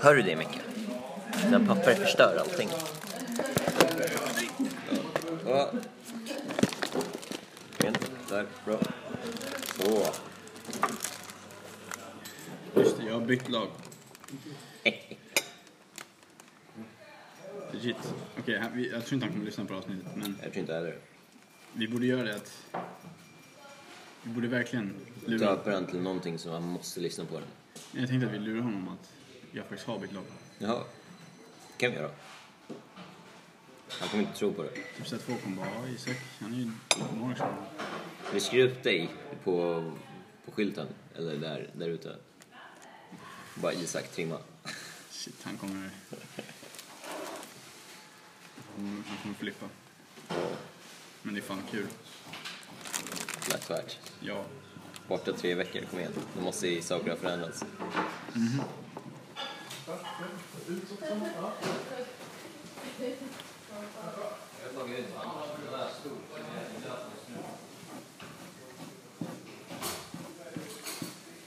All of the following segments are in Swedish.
Hör du det Micke? Den pappret förstör allting. Ja. En, där, bra. Så. Just det, jag har bytt lag. Shit. Okej, han- vi- jag tror inte han kommer lyssna på avsnittet, men Jag tror inte heller vi borde göra det att... Vi borde verkligen lura... Döper den till någonting som man måste lyssna på den. Jag tänkte att vi lurar honom att jag faktiskt har bytt lag. Jaha. kan vi göra. Han kommer inte tro på det. Typ så att folk kommer bara, "Ja, Isak, han är ju målvakt. Vi skriver upp dig på, på skylten, eller där, där ute. Bara Isak trimma. Shit, han kommer... Han han kommer flippa. Men det är fan kul. Lätt värt. Ja. Borta tre veckor, kom igen. Nu måste ju saker ha förändrats.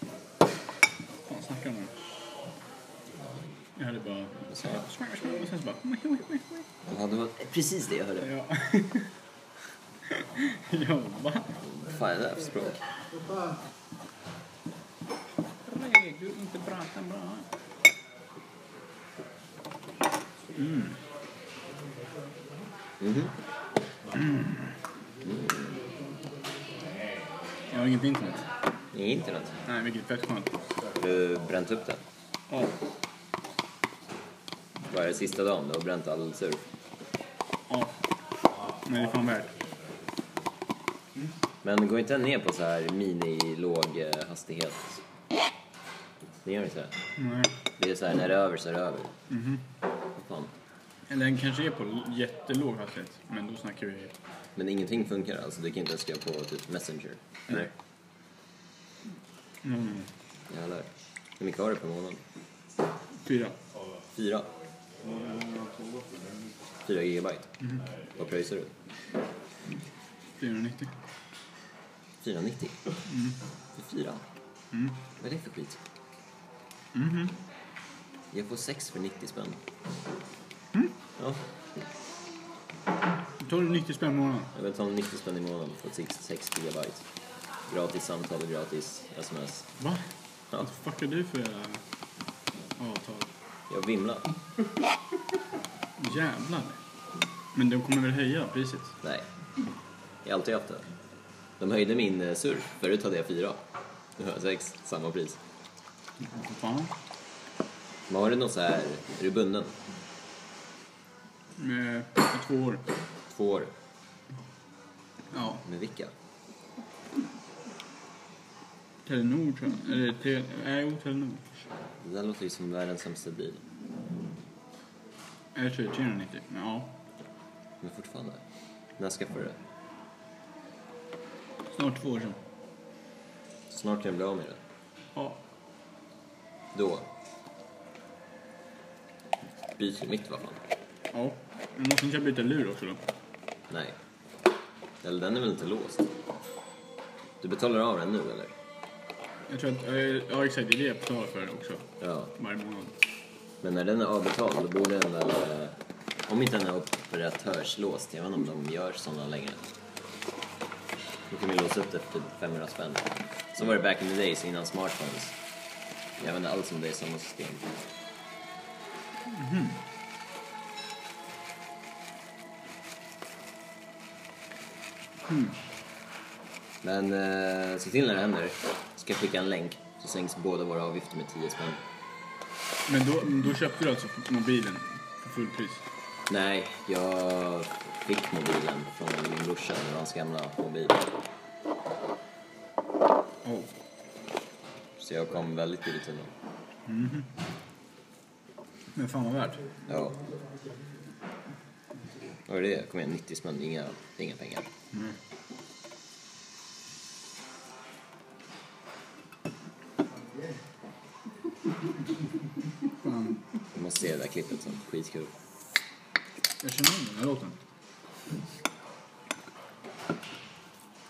Fan, snackar de om? Jag hörde bara... Och så här. smack, smack, Och sen så bara... "Oj, oj, oj, oj." De hade varit- precis det jag hörde. Ja. ja, va? Fan, är det där för språk? Nej, du inte prata bra. Jag har inget internet. Det är internet. Nej, vilket fett skönt. Har du bränt upp den? Ja. Vad är det sista dagen? Du har bränt all surf. Ja. Nej, det är fan värt. Men går inte den ner på så här mini-låg eh, hastighet? Det gör inte det? Nej. Det är så här, när det är över så är det över. Mhm. Fan. Eller den kanske är på l- jättelåg hastighet, men då snackar vi... Men ingenting funkar alltså? Du kan inte ens skriva på typ Messenger? Nej. Mm, Jävlar. Hur mycket har du per månad? fyra. Fyra? Fyra gigabyte? Mhm. Vad pröjsar du? 490. 490? För fyra? Vad är det för skit? Jag får sex för 90 spänn. Ja, Då tar du 90 spänn i månaden. jag vill ta 90 spänn i månaden för 6, 6 gigabyte. Gratis samtal och gratis sms. Va? Ja, Vad fuck är du för jävla avtal? jag vimlar. Jävlar. Men de kommer väl höja priset? Nej, jag har alltid haft det. De höjde min eh, surf. Förut hade jag fyra. Nu har jag sex, samma pris. Vad fan? Men har du något så här, är du bunden? Med i två år. Två år? Ja, Med vilka? Telenor tror jag. Eller Tel... Nej, jo, Telenor. Det där låter ju som världens sämsta deal. Jag tror det typ är 390. Men ja, Men fortfarande. När skaffade du det? snart två år sedan. Snart kan jag bli av med det. Ja. Då. Byt till mitt, vad fan. Ja. Men måste inte jag byta lur också då? Nej. Eller den är väl inte låst? Du betalar av den nu, eller? Jag tror att... eh, Ja, exakt. Det är det jag betalar för också. Ja. Varje månad. Men när den är avbetald då borde den väl... eh, Om inte den är operatörslåst, jag vet inte om de gör sådana längre. Då kan vi låsa upp det för typ 500 spänn. Så var det back in the days innan smartphones. Jag vet inte alls om det är samma system. Hmm. Men eh, se till när det händer. Ska jag skicka en länk så sänks båda våra avgifter med 10 spänn. Men då, då köpte du alltså mobilen för fullpris? Nej, jag fick mobilen från min brorsa. Det var hans gamla mobil. Oh. Så jag kom väldigt billigt undan. Men fan vad värt. Ja. Vad är det? Kom igen, 90 spänn. Det är Inga, det är inga pengar. Du måste se det där klippet sen. Skitkul. Jag känner igen den här låten.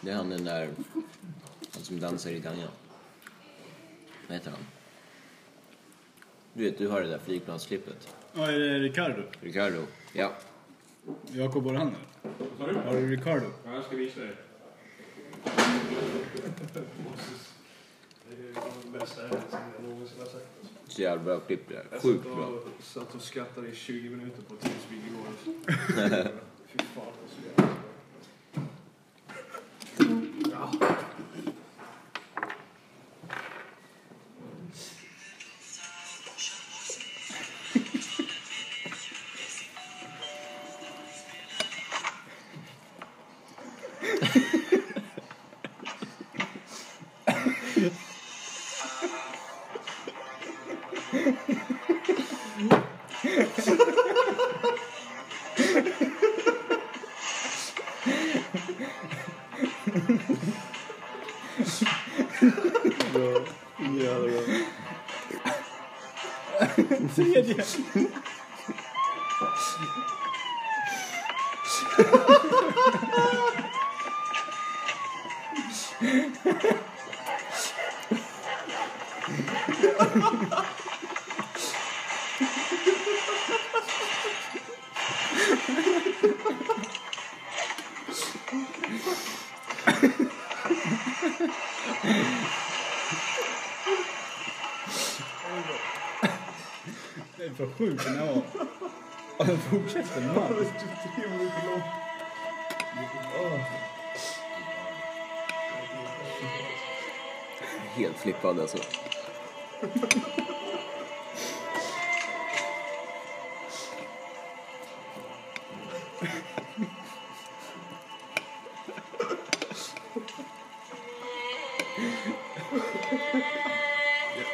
Det är han den där... Han som dansar i Ganga. Vad heter han? Du vet, du har det där flygplansklippet. Ja, är det Ricardo? Ricardo. Ja. Jakob Borhander? Vad sa du? Har du Ricardo? Ja, jag ska visa dig. Det är det bästa ämnet som jag någonsin har sagt. Så jävla bra klipp det där. Sjukt Alltså, bra. Jag satt och skrattade i 20 minuter på Teamspeak igår. Fy fan, det var så jävla bra. Tredje! Det är för sjukt den här var. Ja, Den fortsätter man. Helt flippad alltså.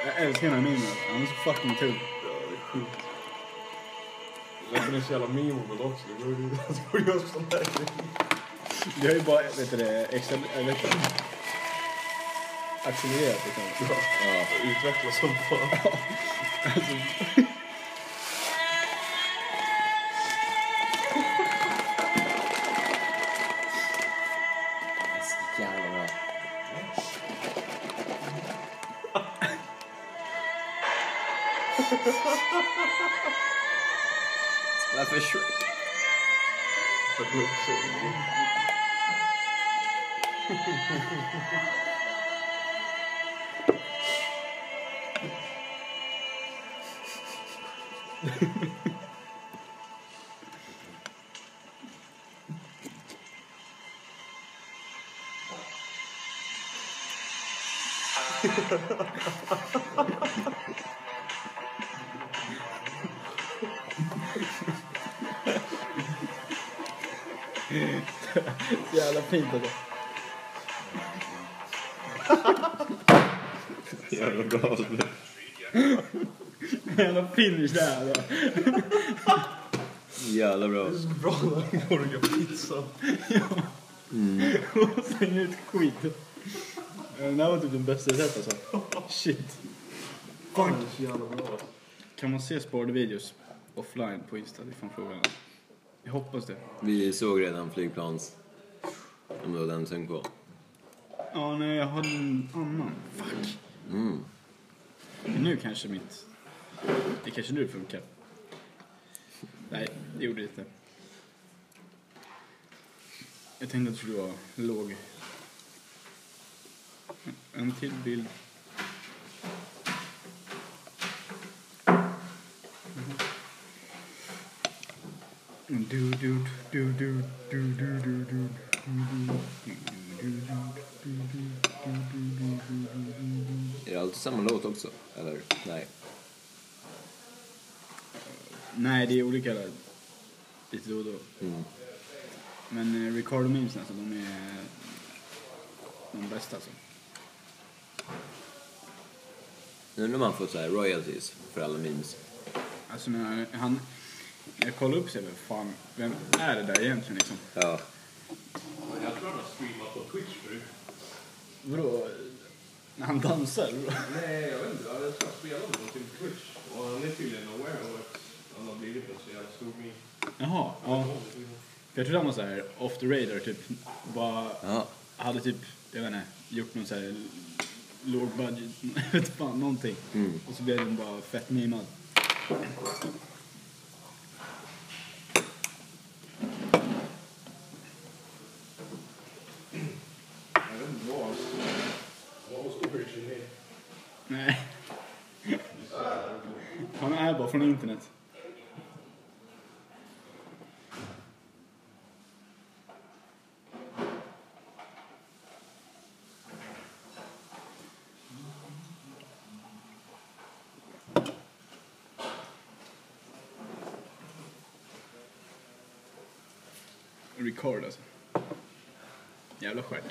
Jag älskar den här mimen. Han är så fucking tung. Det är så jävla memeable också. Det går ju det går ju också sånt där. Vi har ju bara, vet du det, extra, eller vet du, accelererat liksom. Ja. Utvecklas som fan. Så jävla bra. Varför Shrek? För klubbsugning. Jävla fint alltså. Jävla galet. Jävla finish där alltså. Jävla bra. Det är så bra när han går och gör pizza. Och slänger ut skit. Den Eh, här var typ den bästa jag sett alltså. Shit. Fan, det är så jävla bra. Kan man se sparade videos offline på Insta? Det är fan frågan. Jag hoppas det. Vi såg redan flygplans... Om det var den du tänkte på. Ja, nej, jag hade en annan. Fuck. Men Nu kanske mitt... Det kanske nu funkar. Nej, det gjorde det inte. Jag tänkte att det skulle vara låg. En till bild. Du, du, du, du, du, du, du, du. Är det alltid samma låt också? Eller? Nej. Nej, det är olika där. lite då och då. Men eh, Ricardo Memes alltså, de är de bästa alltså. Nu när man får så här royalties för alla memes. Alltså när han, jag kollar upp sig, vem fan, vem är det där egentligen liksom? Ja. Jag tror han har streamat på Twitch förut. Vadå? När han dansar? vadå? Nej, jag vet inte. Jag tror han spelade någonting på Twitch. Och han är tydligen aware av att han har blivit en så jävla stor meme. Jaha, ja. Jag trodde han var så här off the radar typ. Bara, Ja. hade typ, jag vet inte, gjort någon så här low budget, vet fan, någonting. Och så blev den bara fett memad. Jag vet inte vad. Nej. Han är bara från internet. Record alltså. Jävla stjärt.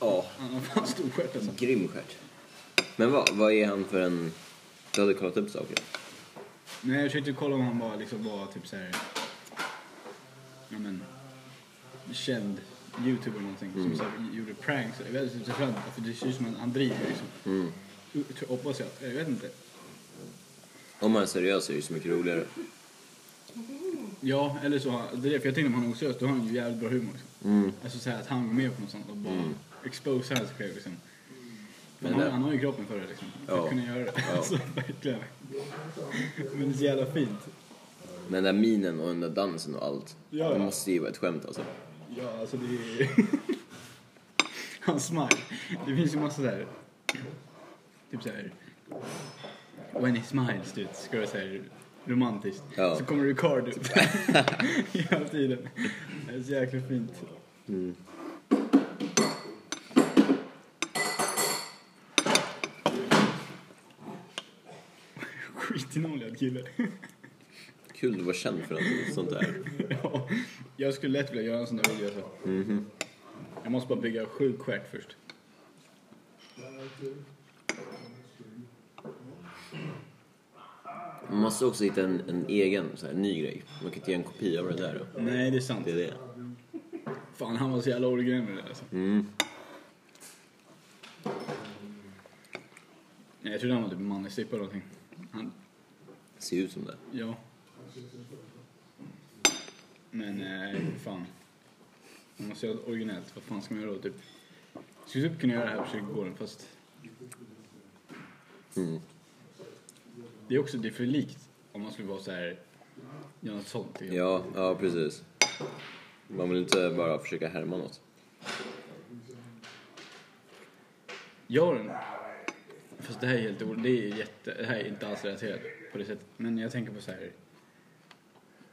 Ja, Han har fan stor stjärt alltså. grym stjärt. Men vad, vad är han för en... Du hade kollat upp saker? Nej, jag försökte kolla om han bara liksom var typ så här... Ja men... Känd youtuber eller någonting Mm. som så här, gjorde pranks. Jag vet inte, för att det ser ut som att han driver liksom. Mm. Jag tror- Hoppas jag. Jag vet inte. Om han är seriös är det ju så mycket roligare. Ja, eller så. Det är det, för jag tänkte om han är oseriös, då har han ju jävligt bra humor. Liksom. Mm. Alltså så här, att han går med på något sånt och bara Mm. exposar sig själv liksom. Men Men han, det- han har ju kroppen för det liksom. För Ja. att kunna göra det. Ja. Alltså verkligen. Men det är så jävla fint. Men den där minen och den där dansen och allt. Ja, Det ja. måste ju vara ett skämt alltså. Ja, alltså det är... Hans smile. Det finns ju massa där... Typ så här... When he smiles, du vet, ska vara så här romantiskt. Ja. Så kommer Ricardo upp hela tiden. Det är så jäkla fint. Skitinoljad kille. Kul att vara känd för något sånt där. ja, jag skulle lätt vilja göra en sån där video. Så. Mhm. Jag måste bara bygga sju stjärt först. Man måste också hitta en, en egen, så här, ny grej. Man kan inte göra en kopia av det där då. Nej, det är sant. Det är det. Fan, han var så jävla originell med det alltså. Mm. Nej, jag trodde han var typ en manlig strippa eller någonting. Han, Ser ut som det. ja. Men, eh, fan. Man måste göra det originellt. Vad fan ska man göra då, typ? Jag skulle typ kunna göra det här på kyrkogården, fast... Mm. Det är också, det är för likt om man skulle vara så här... Göra något sånt. typ. tycker jag. Ja, ja precis. Man vill inte bara försöka härma något. Jag har en... Fast det här är helt o- det är jätte, det här är inte alls relaterat på det sättet. Men jag tänker på så här...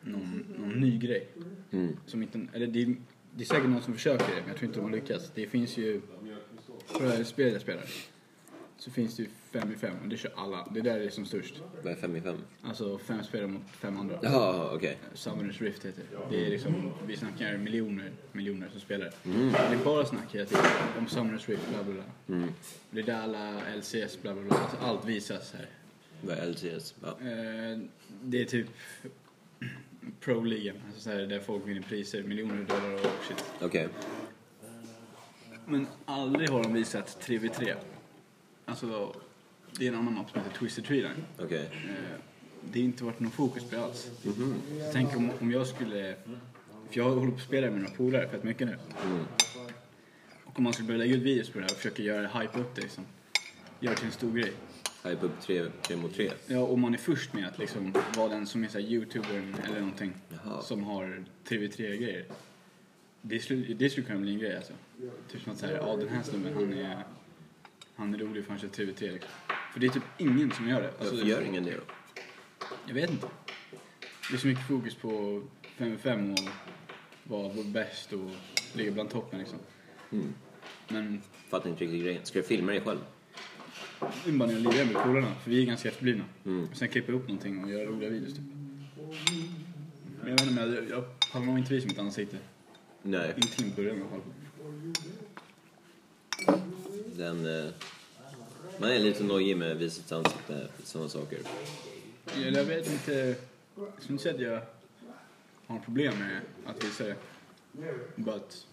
Någon, någon ny grej. Mm. Som inte, eller det, är- det är säkert någon som försöker det, men jag tror inte de har lyckats. Det finns ju... På det här spelet jag spelar så finns det ju fem i fem och det kör alla. Det där är som störst. Vad är fem i fem? Alltså fem spelare mot fem andra. Ja, okej. Summoners Rift heter det. det. Är liksom, vi snackar miljoner, miljoner som spelar. Det är bara snack hela tiden om Summoners Rift, bla bla bla. Det är där alla LCS, bla bla bla. Alltså, allt visas här. Vad är LCS? Ja. Eh, det är typ Pro-ligan, alltså så här, där folk vinner priser, miljoner dollar och shit. Okej. Men aldrig har de visat 3v3. Alltså, det är en annan mapp som heter Twisted Tree Line. Okej. Eh, det har inte varit någon fokus på det alls. Mhm. Så tänk om, om jag skulle... För jag håller på att spela med några polare fett mycket nu. Mm. Och om man skulle börja lägga ut videos på det här och försöka göra hype upp det liksom. Göra det till en stor grej. Hype upp tre, tre mot tre. Ja, och man är först med att liksom vara den som är såhär youtubern eller någonting. Jaha. Som har 3v3-grejer. Det skulle, det skulle kunna bli en grej alltså. Typ som att såhär, ja den här snubben han är... Han är rolig för han kör 3v3 liksom. För det är typ ingen som gör det. Alltså, Varför gör ingen det då? jag vet inte. Det är så mycket fokus på 5-5 och vara vår bäst och ligga bland toppen liksom. Men Fattar inte riktigt grejen. Ska du filma dig själv? det är bara när jag lirar med polarna, för vi är ganska efterblivna. Och sen klippa ihop någonting och göra roliga videos typ. Men jag vet inte, men jag, jag pallar nog inte visa mitt ansikte. Nej. Inte till en början i alla fall. Den... Eh, man är lite nojig med visat ansikte, sådana saker. Eller Jag vet inte, jag skulle inte säga att jag har problem med att visa det. Bara att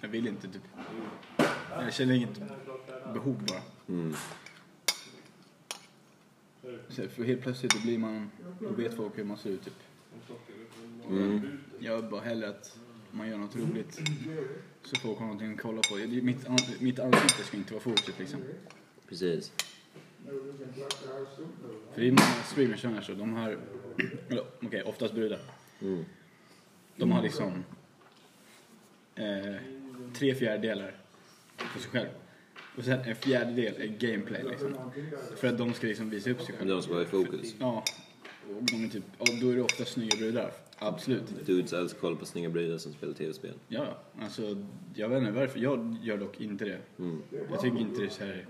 jag vill inte typ. Jag känner inget behov bara. Mm. Så för helt plötsligt då blir man, då vet folk hur man ser ut typ. Mm. Jag vill bara hellre att man gör något roligt. Så folk har någonting att kolla på. Det- Mitt, an- mitt ansikte ska inte vara fokuset liksom. Precis. För det är många streamers som är så, de har, eller okej, oftast brudar. Mm. De har liksom eh, tre fjärdedelar på sig själv. Och sen en fjärdedel är gameplay liksom. För att de ska liksom visa upp sig Men själva. de ska vara i fokus. Ja, och de är typ, ja, då är det ofta snygga brudar. Absolut. Dudes älskar att kolla på snygga brudar som spelar tv-spel. Ja, ja. alltså jag vet inte varför. Jag gör dock inte det. Mm. Jag tycker inte det är så här...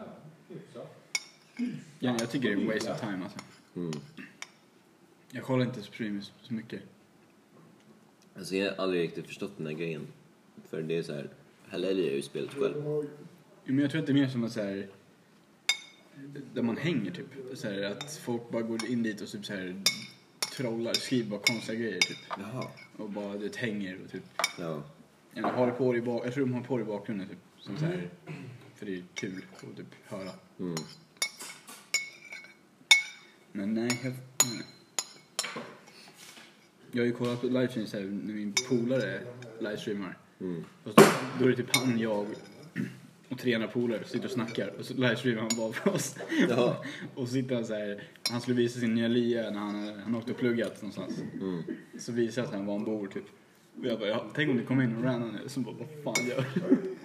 Ja, jag tycker det är waste of time alltså. Mm. Jag kollar inte streamers så mycket. Alltså jag har aldrig riktigt förstått den här grejen. För det är så här, här lär jag ju spelet själv. Jo, Men jag tror att det är mer som att så här... Där man hänger typ. Så här, att folk bara går in dit och typ så här trollar, skriver bara konstiga grejer typ. Jaha. Och bara du vet, hänger och typ. Ja. Eller har det på dig i bak... Jag tror de har på det i bakgrunden typ. Som så här... För det är kul att typ höra. Mm. Men nej, jag... nej. Jag har ju kollat på livestreams här när min polare livestreamar. Mm. Fast då, då är det typ han, jag och tre andra polare som sitter och snackar och så livestreamar han bara för oss. Ja. Och så sitter han så här, han skulle visa sin nya lya när han, han åkte och pluggat någonstans. Så visar jag att han var han bor typ. Och jag bara, ja, tänk om det kommer in någon random nu som bara, vad fan gör du?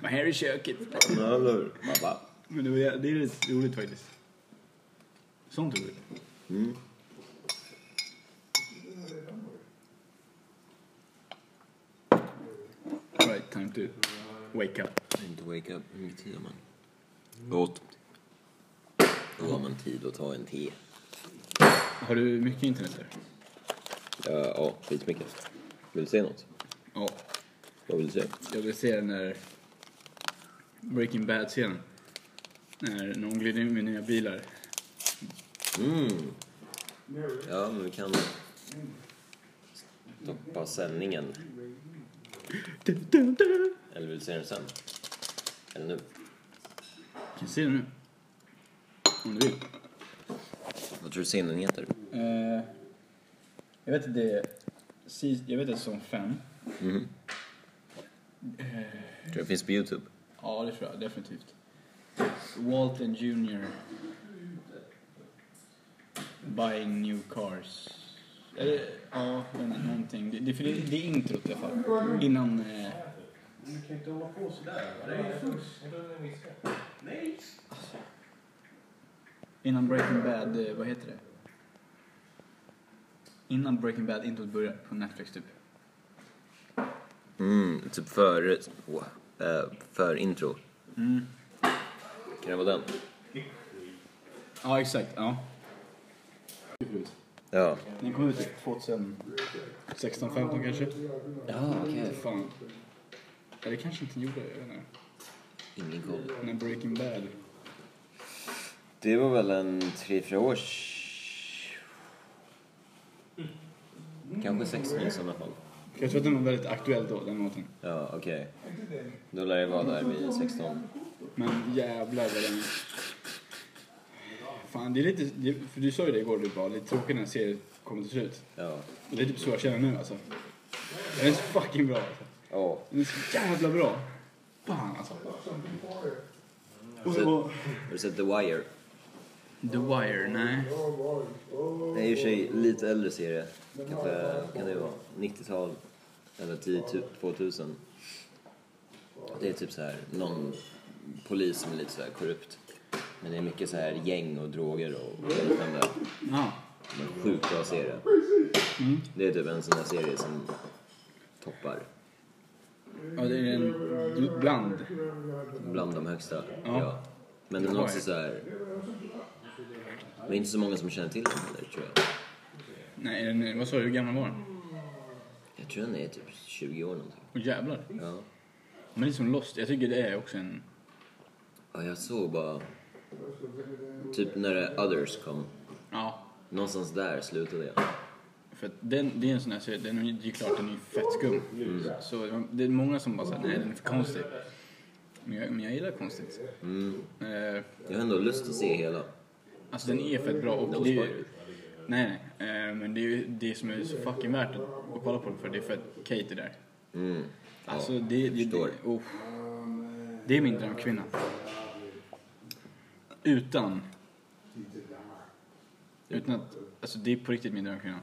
Men här är köket. Jävlar. Pappa. Men det, var, det är lite roligt faktiskt. Sånt är roligt. Mm. Right, time to wake up. Jag vill inte wake up. Hur mycket tid har man? Gott. Då har man tid att ta en te. Har du mycket internet där? Ja, ja skitmycket. Vill du se något? Ja. Vad vill du se? Jag vill se den där Breaking Bad-scenen. När någon glider in med nya bilar. Mm. Ja, men vi kan stoppa sändningen. Eller vill du se den sen? Eller nu? Kan du se den nu? Om du vill. Vad tror du scenen heter? Eh, jag vet att det är... Jag vet att det är som fem. Mm. Tror du det finns på Youtube? Ja, det tror jag definitivt. Walton Jr. Buying new cars. Eller, ja, men någonting. Det, det, för det, det är introt i alla fall. Innan... Eh... Innan Breaking Bad, eh, vad heter det? Innan Breaking Bad introt börjar på Netflix typ. Mm, typ före... Åh, eh, för intro. Mm. Kan det vara den? Ja, exakt. Ja. Ja. Den kom ut typ 2016, 15 kanske. Ja, okej. Fan. Eller kanske inte gjorde, jag vet inte. Ingen koll. Den här Breaking Bad. Det var väl en tre, fyra års... Kanske 16 i sådana fall. Jag tror att den var väldigt aktuell då, den låten. Ja, okej. Då lär det vara där vid 16. Men jävlar vad den... Fan, det är lite... det- För du sa ju det igår, du bara lite tråkigt när serien kommer till slut. Ja. Och det är typ så jag känner nu alltså. Den är så fucking bra alltså. Ja. Den är så jävla bra. Fan alltså. Och, och... Har du sett The Wire? The Wire, nej. Det är i och för sig lite äldre serie. Kanske, kan det vara, 90-tal eller 10, 2000. Det är typ så här någon polis som är lite så här korrupt. Men det är mycket så här gäng och droger och liknande. Ja. Men sjukt bra serie. Det är typ en sån här serie som toppar. Ja, det är en bland. Bland de högsta. Ja. Men den är också så här... Det är inte så många som känner till den heller, tror jag. Nej, är den- vad sa du, hur gammal var den? Jag tror den är typ 20 år någonting. Åh jävlar. Ja. Men det är som Lost, jag tycker det är också en... Ja, jag såg bara... Typ när det Others kom. Ja. Någonstans där slutade jag. För att den, det är en sån där serie, den är ju det är klart den är ju fett skum. Så det är många som bara säger nej den är för konstig. Men jag, men jag gillar konstigt. Eh, Jag har ändå lust att se hela. alltså den är fett bra och No det är ju... spoiler. Nej, nej. Eh, men det är ju det som är så fucking värt att, att kolla på den för. Det är för att Kate är där. Mm. Alltså det, det, det, förstår. oh. det är min drömkvinna. Utan Utan att, alltså det är på riktigt min drömkvinna.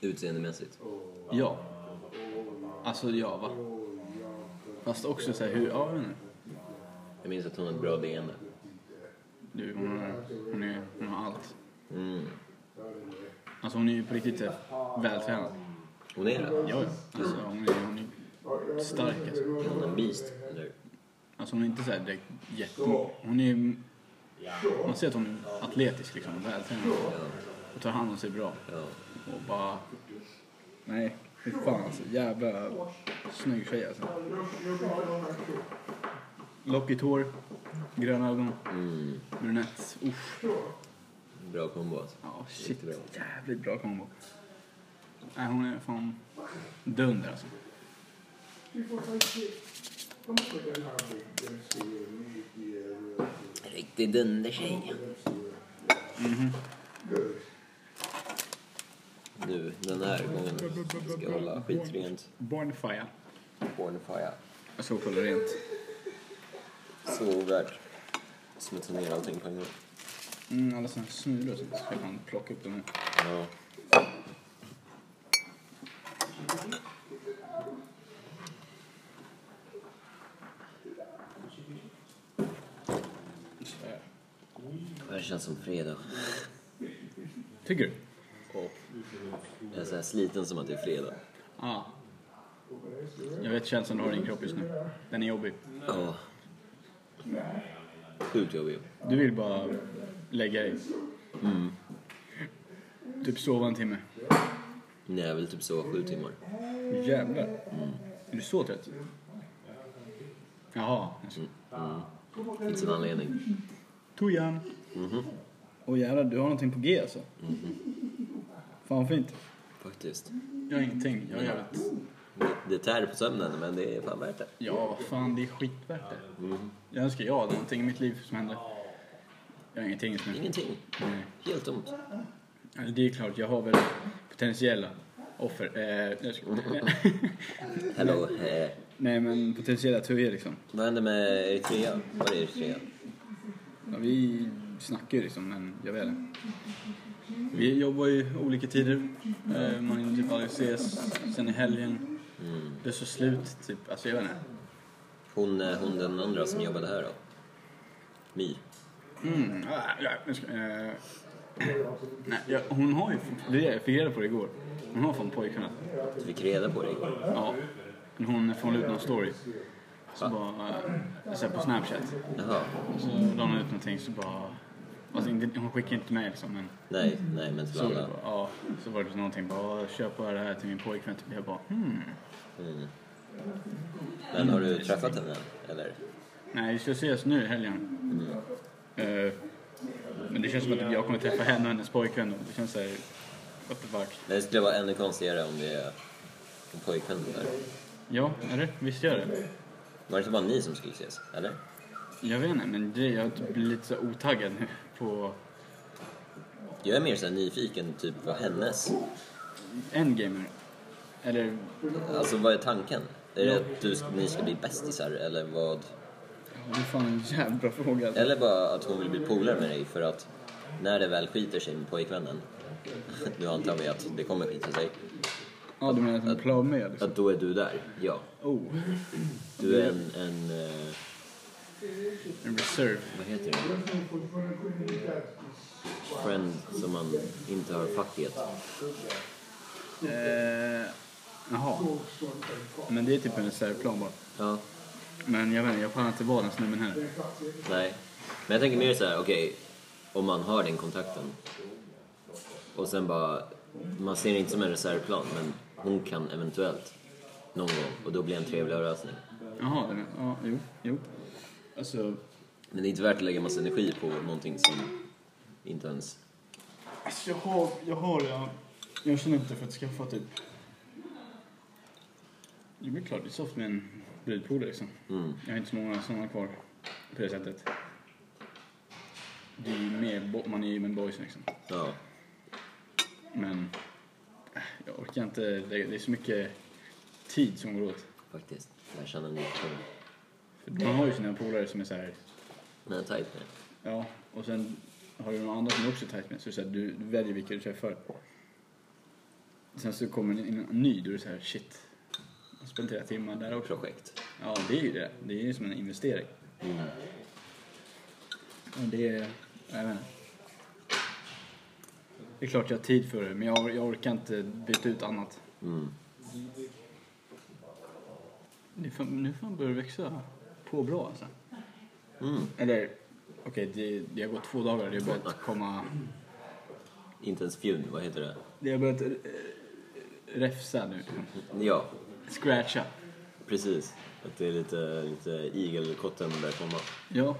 Utseendemässigt. Ja. Alltså ja, va? Fast också så här, hur, ja jag vet inte. Jag minns att hon har ett bra leende. Du, hon, har, hon, är, hon har allt. Mm. Alltså hon är ju på riktigt så här vältränad. Hon är det. Ja, ja. Alltså hon är, hon är stark alltså. Hon är en beast. Eller? Alltså hon är inte så här direkt jätte... Hon är Man ser att hon är atletisk liksom, vältränad. Och tar hand om sig bra. Ja. Och bara... Nej, fy fan alltså. Jävla snygg tjej alltså. Lockigt hår, gröna ögon, Mm. brunett. Uff. Bra kombo alltså. Ja, shit. Jättebra. Jävligt bra kombo. Nej, hon är fan dunder alltså. Riktig dundertjej. Mm-hmm. Nu, den här gången ska jag hålla skitrent. Bonfire. Bornfire. Jag såg kolla rent. Så ovärt. Smutsa ner allting på en gång. Mm, alla såna här smulor och sånt. Ska jag fan plocka upp dem nu. Ja. Sådär. Det känns som fredag. Tycker du? Jag är så här sliten som att det är fredag. Ja. Jag vet känslan du har i din kropp just nu. Den är jobbig. Ja. Sjukt jobbig. Du vill bara lägga dig. Typ sova en timme. Nej, jag vill typ sova sju timmar. Jävlar. Är du så trött? Jaha. Alltså. Finns en anledning. Tojan. Åh jävlar, du har någonting på G alltså. Fan vad fint. Faktiskt. Jag har ingenting. Jag har jävligt... Det, det tär på sömnen, men det är fan värt det. Ja, vad fan det är skitvärt det. Jag önskar jag hade någonting i mitt liv som hände. Jag har ingenting just nu. Ingenting. Nej. Helt tomt. Alltså, det är klart, jag har väl potentiella offer. Eh, jag ska... Hello. Eh, Nej men potentiella turger liksom. vad hände med Eritrea? Var är Eritrea? Ja, vi snackar ju liksom men jag vet inte. Vi jobbar ju olika tider. Eh, Man hinner typ aldrig ses. Sen i helgen. Det är så slut typ. Alltså jag vet inte. Hon, eh, hon den andra som jobbade här då? My. Mm. ah, ja, nu ska- eh, Nej, ja, hon har ju, det är det jag fick reda på det igår. Hon har fan pojkvän. Du fick reda på det igår. Ja. Men Hon får ut någon story. Så bara, eh, så här på Snapchat. Jaha. Så la hon ut någonting så bara, alltså inte, hon skickar inte till mig liksom men Nej, nej men till Så, alla. bara, ja, så var det någonting bara, köp bara det här till min pojkvän. Typ. Jag bara, hmm. Mm. Men har du träffat henne än, eller? Nej, vi ska ses nu i helgen. Eh, men det känns som att jag kommer träffa henne och hennes pojkvän. och Det känns såhär, what the fuck. Men det skulle vara ännu konstigare om det är en pojkvän där. Ja, eller? Visst gör det? Var det inte bara ni som skulle ses? Eller? Jag vet inte, men det, jag blir lite så otaggad nu på Jag är mer så här nyfiken, typ vad hennes... Endgamer. Eller, Alltså vad är tanken? Är det att du, ni ska bli bästisar eller vad? det är fan en jävla bra fråga. Alltså. Eller bara att hon vill bli polare med dig för att när det väl skiter sig med pojkvännen, nu antar vi att det kommer skita sig, Ja, du menar att hon plagar med? Liksom. att då är du där. Ja. Oh, Du är en, en eh, en reserve. vad heter det? Friend som man inte har facket. Eh, jaha. Men det är typ en reservplan bara. Ja. Men jag vet inte, jag pallar inte vara den snubben här. Nej. Men jag tänker mer så här, okej, om man har den kontakten och sen bara, man ser det inte som en reservplan, men hon kan eventuellt någon gång och då blir det en trevlig överraskning. Jaha, den är, ja, jo, jo. Alltså, Men det är inte värt att lägga massa energi på någonting som inte ens... alltså jag har, jag har, jag, jag känner inte för att skaffa typ... Jo, men klart, det är soft med en brudpolare liksom. Mm. Jag har inte så många sådana kvar på det sättet. Det är ju mer, bo- man är ju med boys liksom. Ja. Men äh, jag orkar inte, lägga- det är så mycket tid som går åt. Faktiskt. Jag känner en liten... För man har ju sina polare som är så här Den är tajt nu. Ja, och Och sen har du någon annan som du också är tajt med. Så, det är så här, du, du väljer vilka du träffar. Sen så kommer det in en ny. Då är det så här, shit. Jag har spenderat flera timmar där också. projekt. Mm. Ja, det är ju det. Det är ju som en investering. Och det är... Jag vet inte. Det är klart jag har tid för det, men jag, jag orkar inte byta ut annat. Mm. Nu fan, nu fan börjar det växa på bra alltså. Mm. Eller, okej, det, det har gått två dagar. Det har börjat komma... Inte ens fjun, vad heter det? Det har börjat eh, räfsa nu. Ja, Scratcha. precis. Att det är lite, lite igelkotten börjar komma. Ja,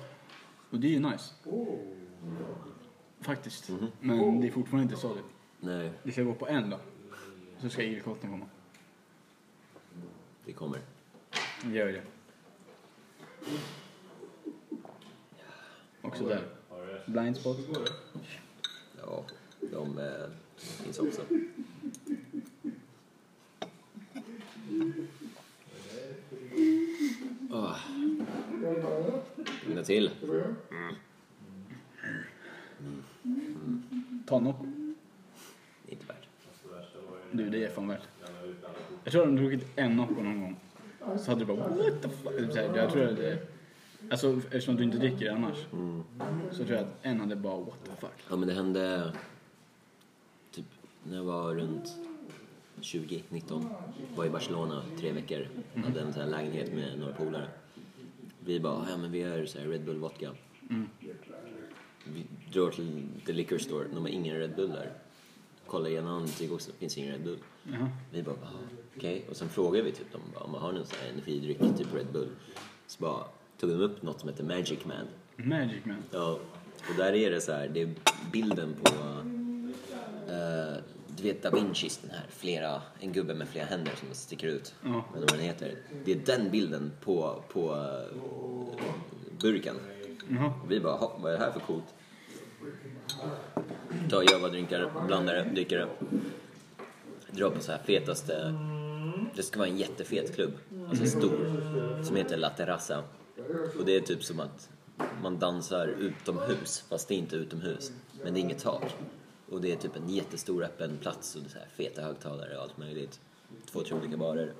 och det är ju nice. Faktiskt. Men det är fortfarande inte stadigt. Nej, Det ska gå på en dag. Så ska igelkotten komma. det kommer. Det gör det. Också där. Blind spot. Ja, de eh, finns också. Oh. Lycka till. Tanno. Det är inte värt. Du, det är fan värt. Jag tror att de druckit en Nocco någon gång. Så hade du bara what the fuck. Typ så här, Jag tror att det... Alltså eftersom du inte dricker annars. Så tror jag att en hade bara what the fuck. Ja, men det hände typ när jag var runt 20, 19. Var i Barcelona tre veckor. Hade en sån här lägenhet med några polare. Vi bara, ja men vi gör så här Red Bull vodka. Vi drar till the liquor store, de har ingen Red Bull där. Kollar igenom, det också, finns ingen Red Bull. Jaha. Vi bara, "Ah, okej. Och sen frågade vi typ dem, bara, om man har någon sån här energidryck, typ Red Bull. Så bara tog de upp något som heter Magic Man. Magic man. Ja, och där är det så här, det är bilden på... eh, du vet da Vincis, den här flera, en gubbe med flera händer som sticker ut. Ja. Jag vet inte vad den heter. Det är den bilden på, på eh, burken. Jaha. Och vi bara, "Ha, vad är det här för coolt? Ta Java-drinkar, blandar det, dricker det. Drar på så här fetaste... Det ska vara en jättefet klubb, alltså stor, som heter La Terraza. Och det är typ som att man dansar utomhus, fast det är inte utomhus. Men det är inget tak. Och det är typ en jättestor öppen plats och det är så här feta högtalare och allt möjligt. Två, tre olika barer.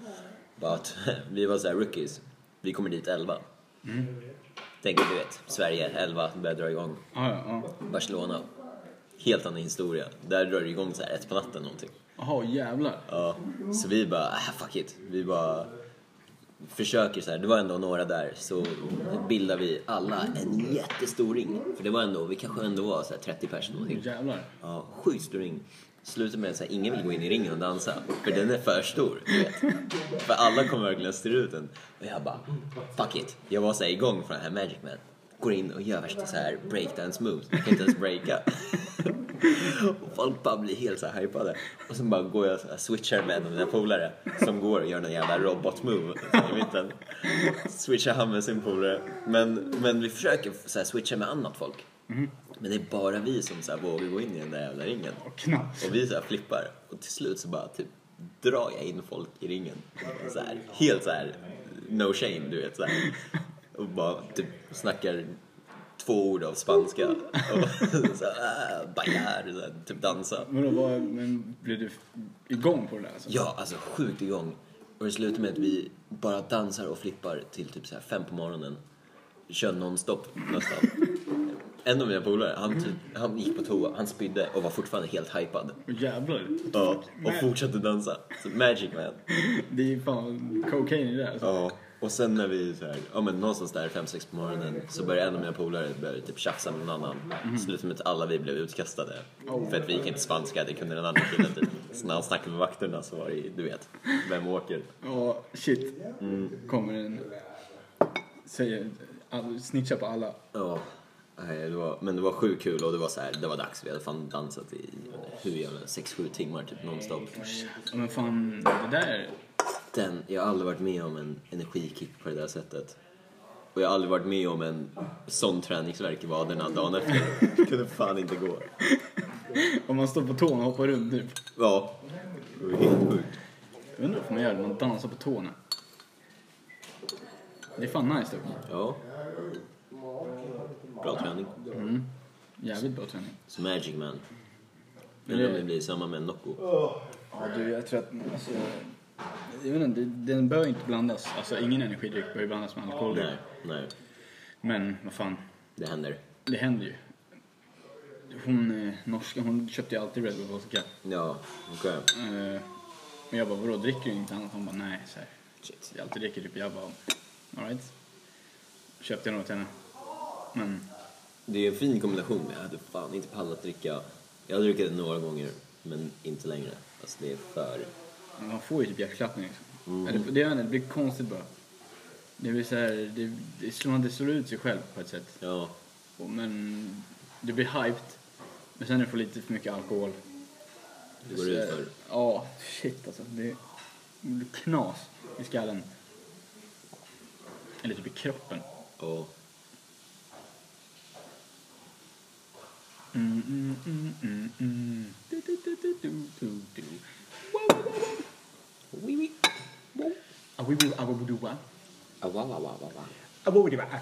Bara att vi var så här rookies. Vi kommer dit elva. Tänker du vet, Sverige 11 börjar dra igång. Ah, ja, ja. Barcelona, helt annan historia. Där drar det igång så här ett på natten någonting. Jaha, jävlar. Ja, så vi bara, ah, fuck it. Vi bara försöker så här. Det var ändå några där. Så bildar vi alla en jättestor ring. För det var ändå, vi kanske ändå var så här 30 personer någonting. Jävlar. Ja, sjukt stor ring. Slutar med att ingen vill gå in i ringen och dansa, för den är för stor. Du vet. För alla kommer verkligen styra ut den. Och jag bara, fuck it. Jag var så här igång från den här Magic Man. Går in och gör värsta så här breakdance moves. Jag kan inte ens breaka. Och folk bara blir helt så här hypade. Och sen bara går jag och switchar med en av mina polare som går och gör någon jävla robotmove i mitten. Switchar han med sin polare. Men, men vi försöker så här switcha med annat folk. Mhm. Men det är bara vi som så här vågar gå in i den där jävla ringen. Och knappt. Och vi så här flippar. Och till slut så bara typ drar jag in folk i ringen. Så här, helt så här no shame, du vet. Så här. Och bara typ snackar två ord av spanska. Och så här, äh, bajar, så här, typ dansa. Vadå, vad, men blev du f- igång på det där alltså? Ja, alltså sjukt igång. Och det slutar med att vi bara dansar och flippar till typ så här fem på morgonen. Kör nonstop nästan. En av mina polare, han, typ, han gick på toa, han spydde och var fortfarande helt hypad. Åh, jävlar. Ja, och fortsatte dansa. Så magic man. Det är ju fan cocaine i det där alltså. Ja. Och sen när vi så här, ja men någonstans där fem sex på morgonen så började en av mina polare börja typ tjafsa med någon annan. Slutade med att alla vi blev utkastade. För att vi gick inte spanska, det kunde den andra killen typ. Så när han snackade med vakterna så var det ju, du vet, vem åker? Ja, shit. Mm. Kommer en... Säger... all- Snitchar på alla. Ja, nej, det var, men det var sjukt kul och det var så här, det var dags. Vi hade fan dansat i hur jävla, 6-7 timmar typ nonstop. Ja, men fan, det där... Den, jag har aldrig varit med om en energikick på det där sättet. Och jag har aldrig varit med om en sån träningsvärk i vaderna dagen efter. Det kunde fan inte gå. Om man står på tårna och hoppar runt typ. Ja, det var helt sjukt. Jag undrar varför man gör det, man dansar på tårna. Det är fan nice dock. Ja. Bra träning. Jävligt bra träning. Så Magic Man. Men Men det- om det blir samma med Nocco. Ja, du, jag tror att... Alltså, jag vet inte, det- den bör inte blandas. Alltså ingen energidryck bör ju blandas med alkohol. Nej, nej. Men vad fan, Det händer. det händer ju. Hon eh, norska, hon köpte ju alltid Red Bull Vodka. Ja, okej. Eh, Men jag bara, vadå dricker du inget annat? Hon bara, nej. Så här. Shit. Jag alltid dricker typ. Jag bara, alright. Köpte jag något till henne. Men Det är en fin kombination, men jag hade fan inte pallat dricka. Jag har druckit det några gånger, men inte längre. Alltså det är för... man får ju typ hjärtklappning liksom. Mm. Eller, det, jag vet inte, det blir konstigt bara. Det blir så här, det, det, är som att det slår ut sig själv på ett sätt. Ja, Och, men du blir hyped. Men sen när du får lite för mycket alkohol. det går ut för. Ja, shit alltså. Det det blir knas i skallen. Eller typ i kroppen. Ja. Mm, mm, mm, mm, mm. Du, du, du, du, du, du, du. Wow, wow, wow, wow. Wee wee. Wow. Ah, oui, oui, ah, oui, oui, oui. Ah, wow, wow, wow, wow, wow. Ah, oui, oui, oui, ah.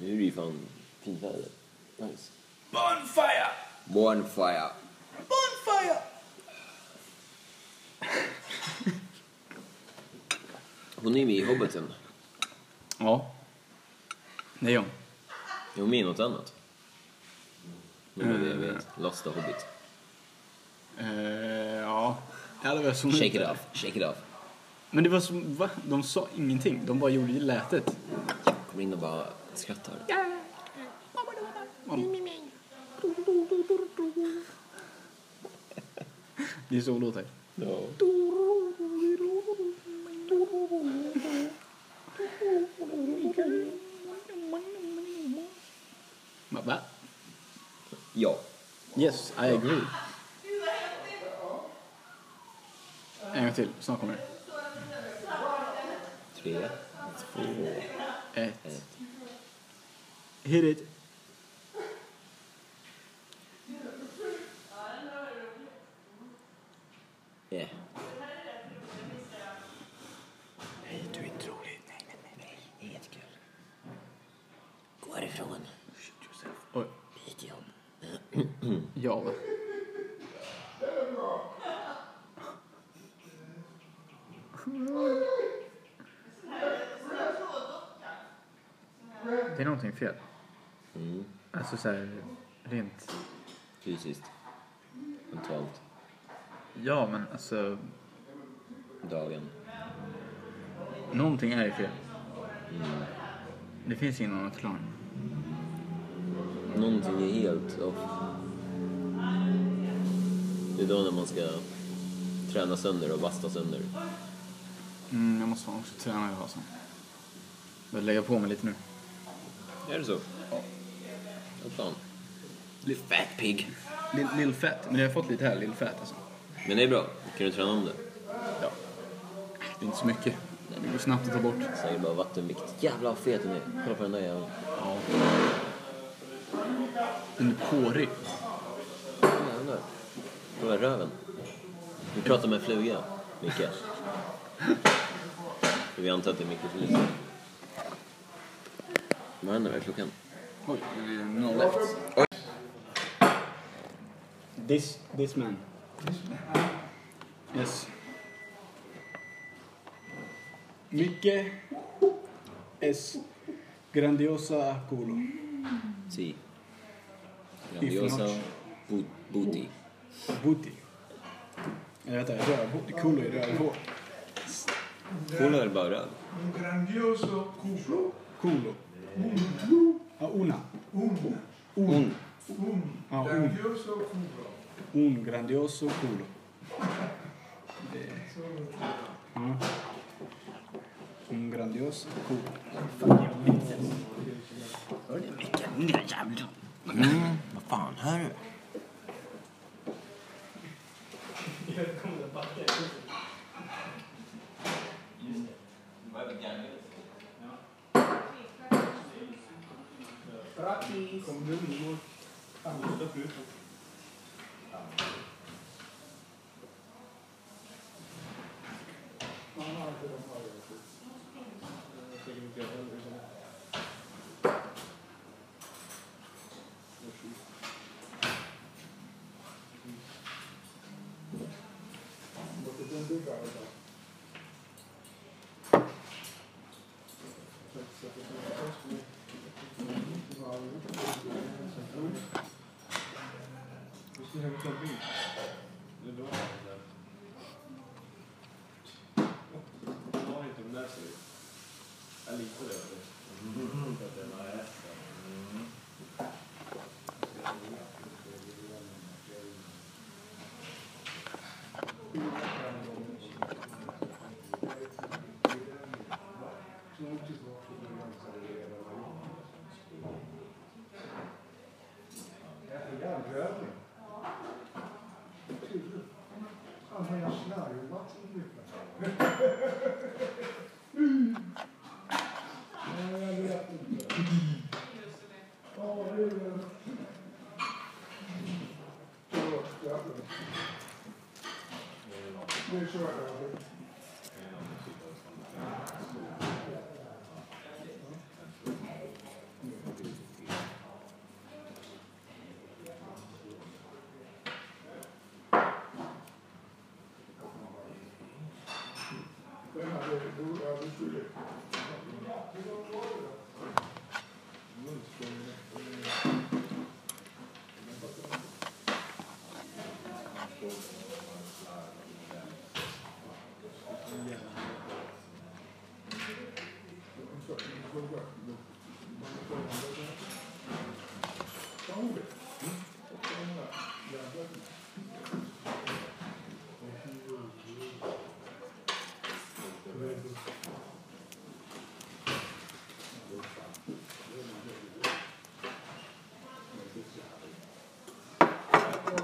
Nu är det ju fan fint väder. Nice. Bonfire! Bonfire. Hon är med i Hobbiten. Ja. Det är hon. Är hon med i något annat? Men vad det jag Eh. vet. Lost the Hobbit. Eh, ja. Eller vad som Shake it off, shake it off. Men det var som, va? De sa ingenting. De bara gjorde det lätet. Kommer in och bara skrattar. Det är så hon låter. Ja. Man bara, Va? Ja. Yes, I agree. En gång till. Snart kommer det. Tre, två, Ett. ett. Hit it. Yeah. Du är trolig. Nej, nej, nej. nej. Det är jättekul. Gå härifrån. Oj. Byt jobb. Ja. va. Det är någonting fel. Alltså så här, rent... Fysiskt. Mentalt. Ja, men alltså... Dagen. Någonting är ju fel. Det finns ingen annan förklaring. Någonting är helt off. Det är då när man ska träna sönder och basta sönder. Mm, jag måste fan också träna idag alltså. Jag lägga på mig lite nu. Är det så? Ja. Vad fan. Bli fat pig. Lill, lill fett. Men jag har fått lite här, lill fett alltså. Men det är bra. Kan du träna om det? Ja. Det är inte så mycket. Det går snabbt att ta bort. Säger bara vattenvikt. Jävlar vad fet hon är. Kolla på den där jäveln. Ja. Den är pårig. Jävlar. Kolla röven. Vi pratar med en fluga, Micke. För vi antar att det är Micke som lyssnar. Vad händer? Vad är klockan? Oj, det är noll left. This, this man. Yes. Micke es grandiosa culo. Si. Grandiosa If bo- booty. Booty. Eller vänta, rövhår. Culo är rövhår. Kolla är bara röv. Un grandioso culo. Culo. Ja, una. Un, Un. un Ja, un. grandioso culo. Un grandioso culo. Eh, Ja. ¿Mm? Un grandioso culo. Mm, Vad fan, hör du? Om du umgås. Andas ut. Vi ska hem och ta en bild. Det är bra. det där. Jag har inte de där ser ut. Jag litar på det. För att den har rätt.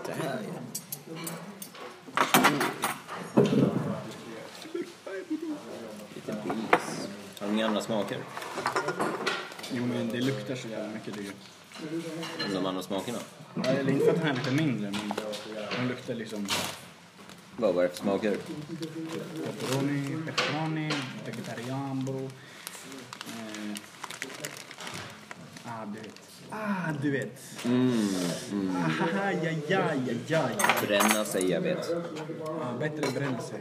Det här är Lite bees. Har de andra smaker? Jo men det luktar så jävla mycket det. Än de andra smakerna? Ja, Eller inte för att den här luktar mindre men den luktar liksom Vad var det för smaker? pepperoni, pepperoni, vegetarianbo. Eh, ah du vet. Ah du vet. Ah, ha, ha, ja, ja, ja, ja, ja. Bränna sig, jag vet. Ah, bättre bränna sig.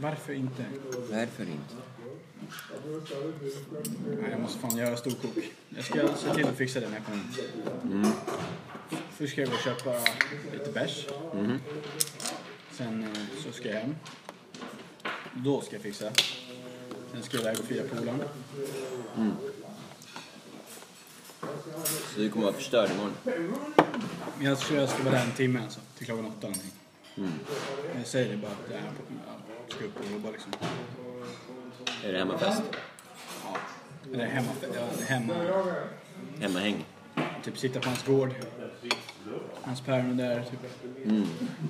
Varför inte? Varför inte? Nej, Ah, jag måste fan göra storkok. Jag ska se till att fixa det när jag kommer hit. Först ska jag gå och köpa lite bärs. Sen eh, så ska jag hem. Då ska jag fixa. Sen ska jag iväg och fira polaren. Så du kommer vara förstörd imorgon? Men Jag tror jag ska vara där en timme alltså, till klockan åtta eller någonting. Jag säger det bara att jag är på- jag ska upp och jobba liksom. Är det hemmafest? Ja. Eller hemma, ja, hemma. Hemmahäng? Typ sitta på hans gård. Hans päron där typ.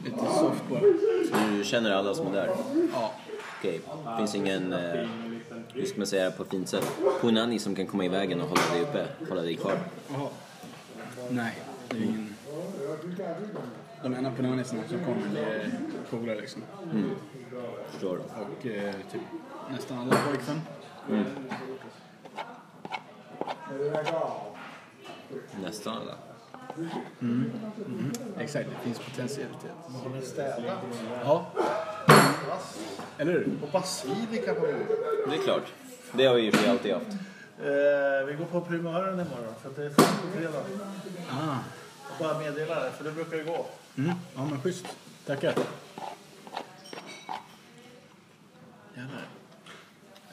Lite soft bara. Så du känner alla som är där? Ja. Okej, finns ingen, eh, hur ska man säga på ett fint sätt, punani som kan komma i vägen och hålla dig uppe, hålla dig kvar? Jaha. Nej, det är ingen... De enda punanisarna som kommer det är polare liksom. Förstår? Och eh, typ nästan alla pojkvän. Nästan alla. Exakt, det finns potentialitet. Ja. Eller hur? Och basilika på bordet. Det är klart. Det har vi ju för sig alltid haft. Eh, vi går på primören imorgon för att det är fredag. Ah. Jag bara meddelar det, för det brukar ju gå. Mm. Ja men schysst. Tackar. Jävlar.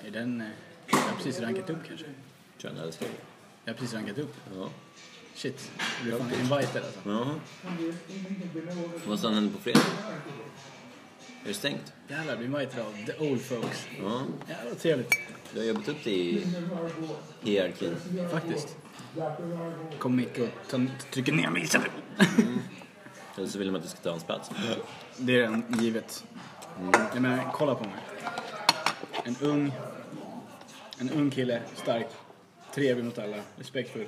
Är den... eh, Jag har precis rankat upp kanske. Kön älskar dig. Jag har precis rankat upp. Ja. Shit. Jag blev fan invited alltså. Jaha. Vad som händer på fredag? Är det stängt? Jävlar, jag blev invited av the old folks. Ja. Jävlar vad trevligt. Du har jobbat upp dig i hierarkin. Faktiskt. Kom Micke och ta- trycker ner mig istället. Eller så vill de att du ska ta hans plats. Det är redan givet. Jag menar, kolla på mig. En ung, en ung kille, stark, trevlig mot alla, respektfull.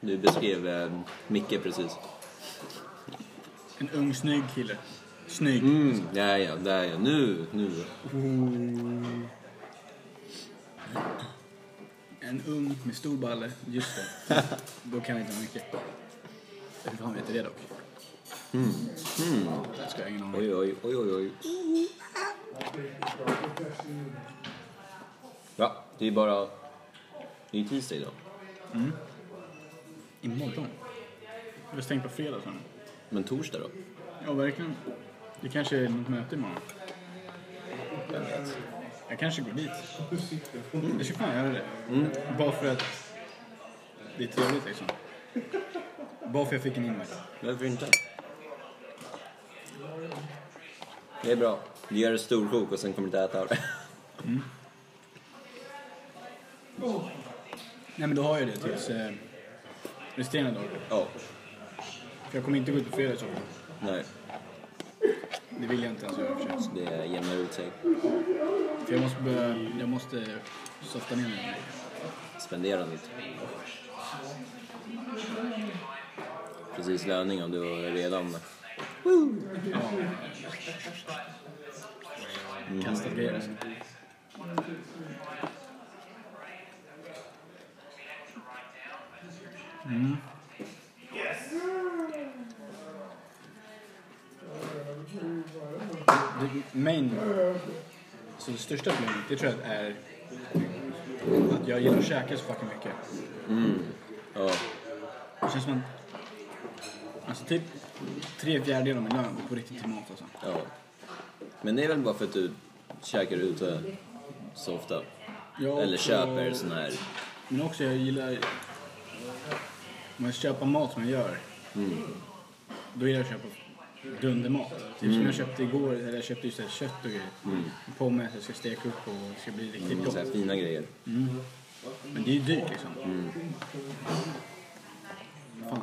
Du beskrev eh, Micke precis. En ung, snygg kille. Snygg. Mm, där ja, där ja. Nu, nu. En ung med stor balle. Just det. Då kan jag inte ha mycket. Hur fan vet du det dock? Det ska jag ingen aning om. Oj, oj, oj, oj, oj. Ja, det är bara... Det är tisdag idag. Imorgon? Jag har stängt på fredag sen. Men torsdag då? Ja, verkligen. Det kanske är något möte imorgon. Vem vet? Jag kanske går dit. Jag ska fan göra det. Bara för att det är trevligt liksom. Bara för att jag fick en invite. Varför inte? Det är bra. Du gör en stor kok och sen kommer du inte äta av det. Nej men då har jag det tills eh, resterande dagar. Ja. För jag kommer inte gå ut på fredag i så fall. Nej, Det vill jag inte ens göra i och för sig. det jämnar ut sig. För jag måste börja, jag måste softa ner mig. Spendera ditt. Precis löning om du redan... Ja. Kastat grejer alltså. Mm. Det- Main, så det största problemet, det tror jag är att jag gillar att käka så fucking mycket. Mm. Ja. Det känns som att... Alltså typ tre fjärdedelar av min lön går på riktigt till mat alltså. Ja. Men det är väl bara för att du käkar ute så ofta? Ja, Eller och- köper sån här... Men också jag gillar... Om jag köper mat som jag gör. Då gillar jag att köpa dundermat. Typ som jag köpte igår, eller jag köpte just det här kött och grejer. På mig att jag ska steka upp och det ska bli riktigt typ Så gott. här fina grejer. Men det är ju dyrt liksom. Fan.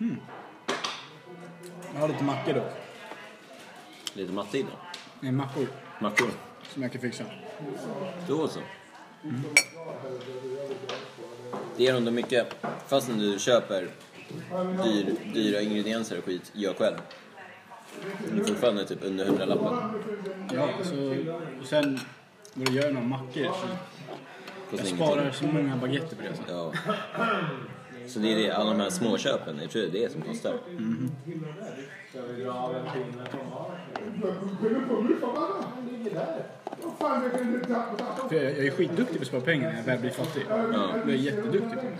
Mm. Jag har lite mackor då. Lite matte idag. Nej, mackor Mackor. som jag kan fixa. Då så. Det ger ändå mycket. Fastän du köper dyr, dyra ingredienser och skit, gör själv. Men det är fortfarande typ under 100 lappen. Ja, alltså, och sen när du gör några mackor så Kostar jag ingenting. sparar så många baguetter på det. Alltså. Ja. Så det är det, alla de här småköpen, jag tror det är det som kostar. För jag, jag är skitduktig på att spara pengar när jag väl blir fattig. Jag är jätteduktig på det.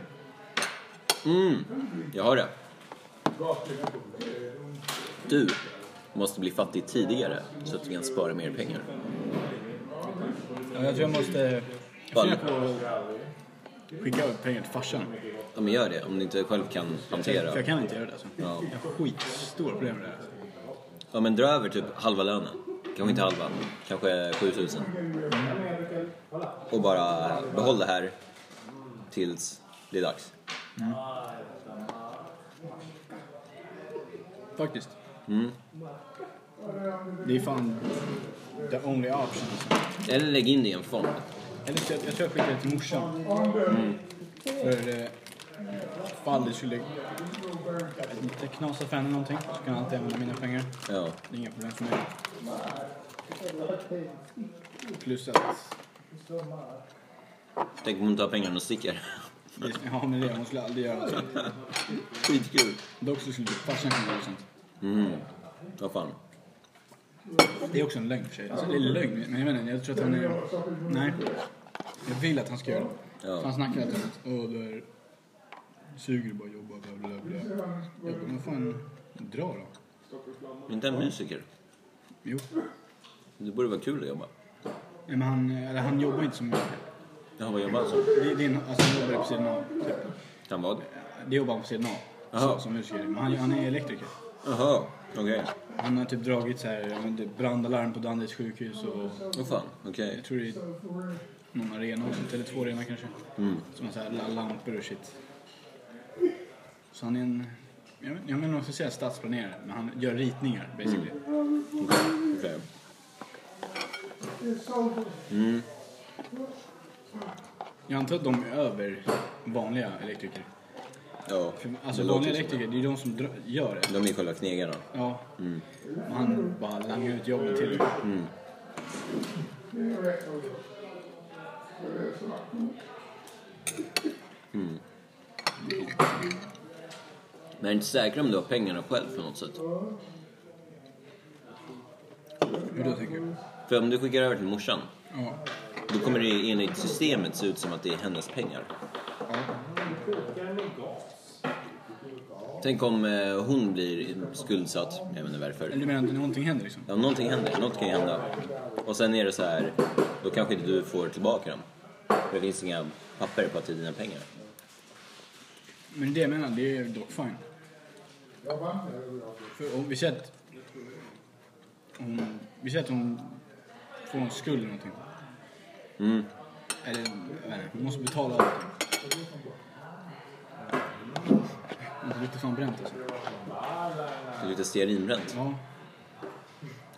Mm, jag har det. Du måste bli fattig tidigare så att du kan spara mer pengar. Ja, jag tror jag måste... Jag Fan. funderar på att skicka över pengar till farsan. Ja, men gör det om du inte själv kan För jag hantera. kan inte göra det alltså. Jag Ja. har skitstora problem med det här. alltså. Ja, men dra över typ halva lönen. Kanske inte halva, kanske 7000. Och bara behåll det här tills det är dags. Faktiskt. Det är fan the only option. Alltså. Eller lägg in det i en fond. Eller så jag, jag tror jag skickar det till morsan. För eh, fall det skulle... Jag vet inte, knasa för henne någonting. Så kan jag alltid använda mina pengar. Ja. Det är inga problem för mig. Plus att... Tänk om hon tar pengarna och sticker. Ja men det, hon skulle aldrig göra något sånt. Skitkul. Dock så skulle liksom, farsan kunna göra sånt. Mm. Vad fan. Det är också en lögn för sig. Alltså, det är lögn, men jag vet inte, jag tror att han är... Nej. Jag vill att han ska göra det. Ja. Så han snackar alltid om att åh, du är... Suger du bara att jobba, bla bla bla. Jag bara, men fan, dra då. Inte en musiker. Jo. Det borde vara kul att jobba. Nej, men han, eller, han jobbar inte som mycket. Jaha, vad jobbar han som? Det, det är, en- alltså, han jobbar på sidan av. Typ. Han vad? Det jobbar han på sidan av. Jaha. Så, som musiker. Men han, han är elektriker. Jaha, okej. Han har typ dragit så här, ja, men det- brandalarm på Danderyds sjukhus och Vad fan, okej. Jag tror det är någon arena och sånt, eller två arenor kanske. Mm. Som har så här la- lampor och shit. Så han är en, jag vet jag vet inte om man ska säga stadsplanerare, men han gör ritningar basically. Mm. Okej, okej. Jag antar att de är över vanliga elektriker. Ja, Alltså det låter vanliga ju som elektriker, det är de som dra- gör det. det. De är själva knegarna. Ja. Och han bara langar ut jobben till dem. Men jag är inte säker om du har pengarna själv på något sätt. Hur då tänker du? För om du skickar över till morsan, Ja. då kommer det enligt systemet se ut som att det är hennes pengar. Tänk om eh, hon blir skuldsatt, jag vet inte varför. Eller du menar att någonting händer liksom? Ja, någonting händer, något kan ju hända. Och sen är det så här, då kanske inte du får tillbaka dem. För det finns inga papper på att det är dina pengar. Men det jag menar, det är dock fine. För om vi säger att... Om, vi säger att hon får en skuld eller någonting. Mm. Eller, jag vet inte, hon måste betala allting. Det luktar fan bränt alltså. Det luktar stearinbränt. Ja.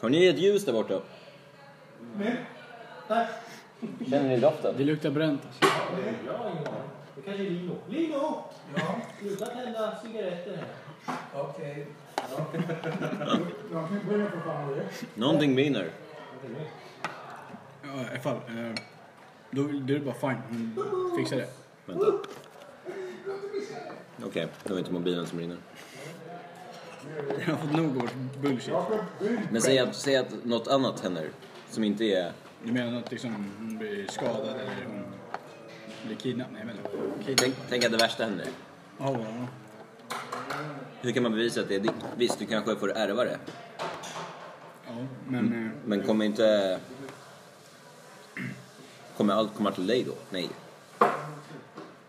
Har ni ett ljus där borta? Känner ni doften? Det luktar bränt alltså. Det kanske är Lino. Lino! Sluta tända cigaretter här. Okej. Jag kan börja för fan vad det är. Någonting brinner. Ja, i alla fall. eh, Då, då är det bara fine. Hon fixar det. Vänta. Okej, det var inte mobilen som brinner. Jag har fått nog av vårt bullshit. Men säg att, säg att något annat händer som inte är... Du menar att liksom, hon blir skadad eller hon blir kidnappad? Nej, men... Tänk, tänk att det värsta händer. Ja, ja. Hur kan man bevisa att det är ditt? Visst, du kanske får ärva det. ja men... eh, Men kommer inte... Kommer allt komma till dig då? Nej.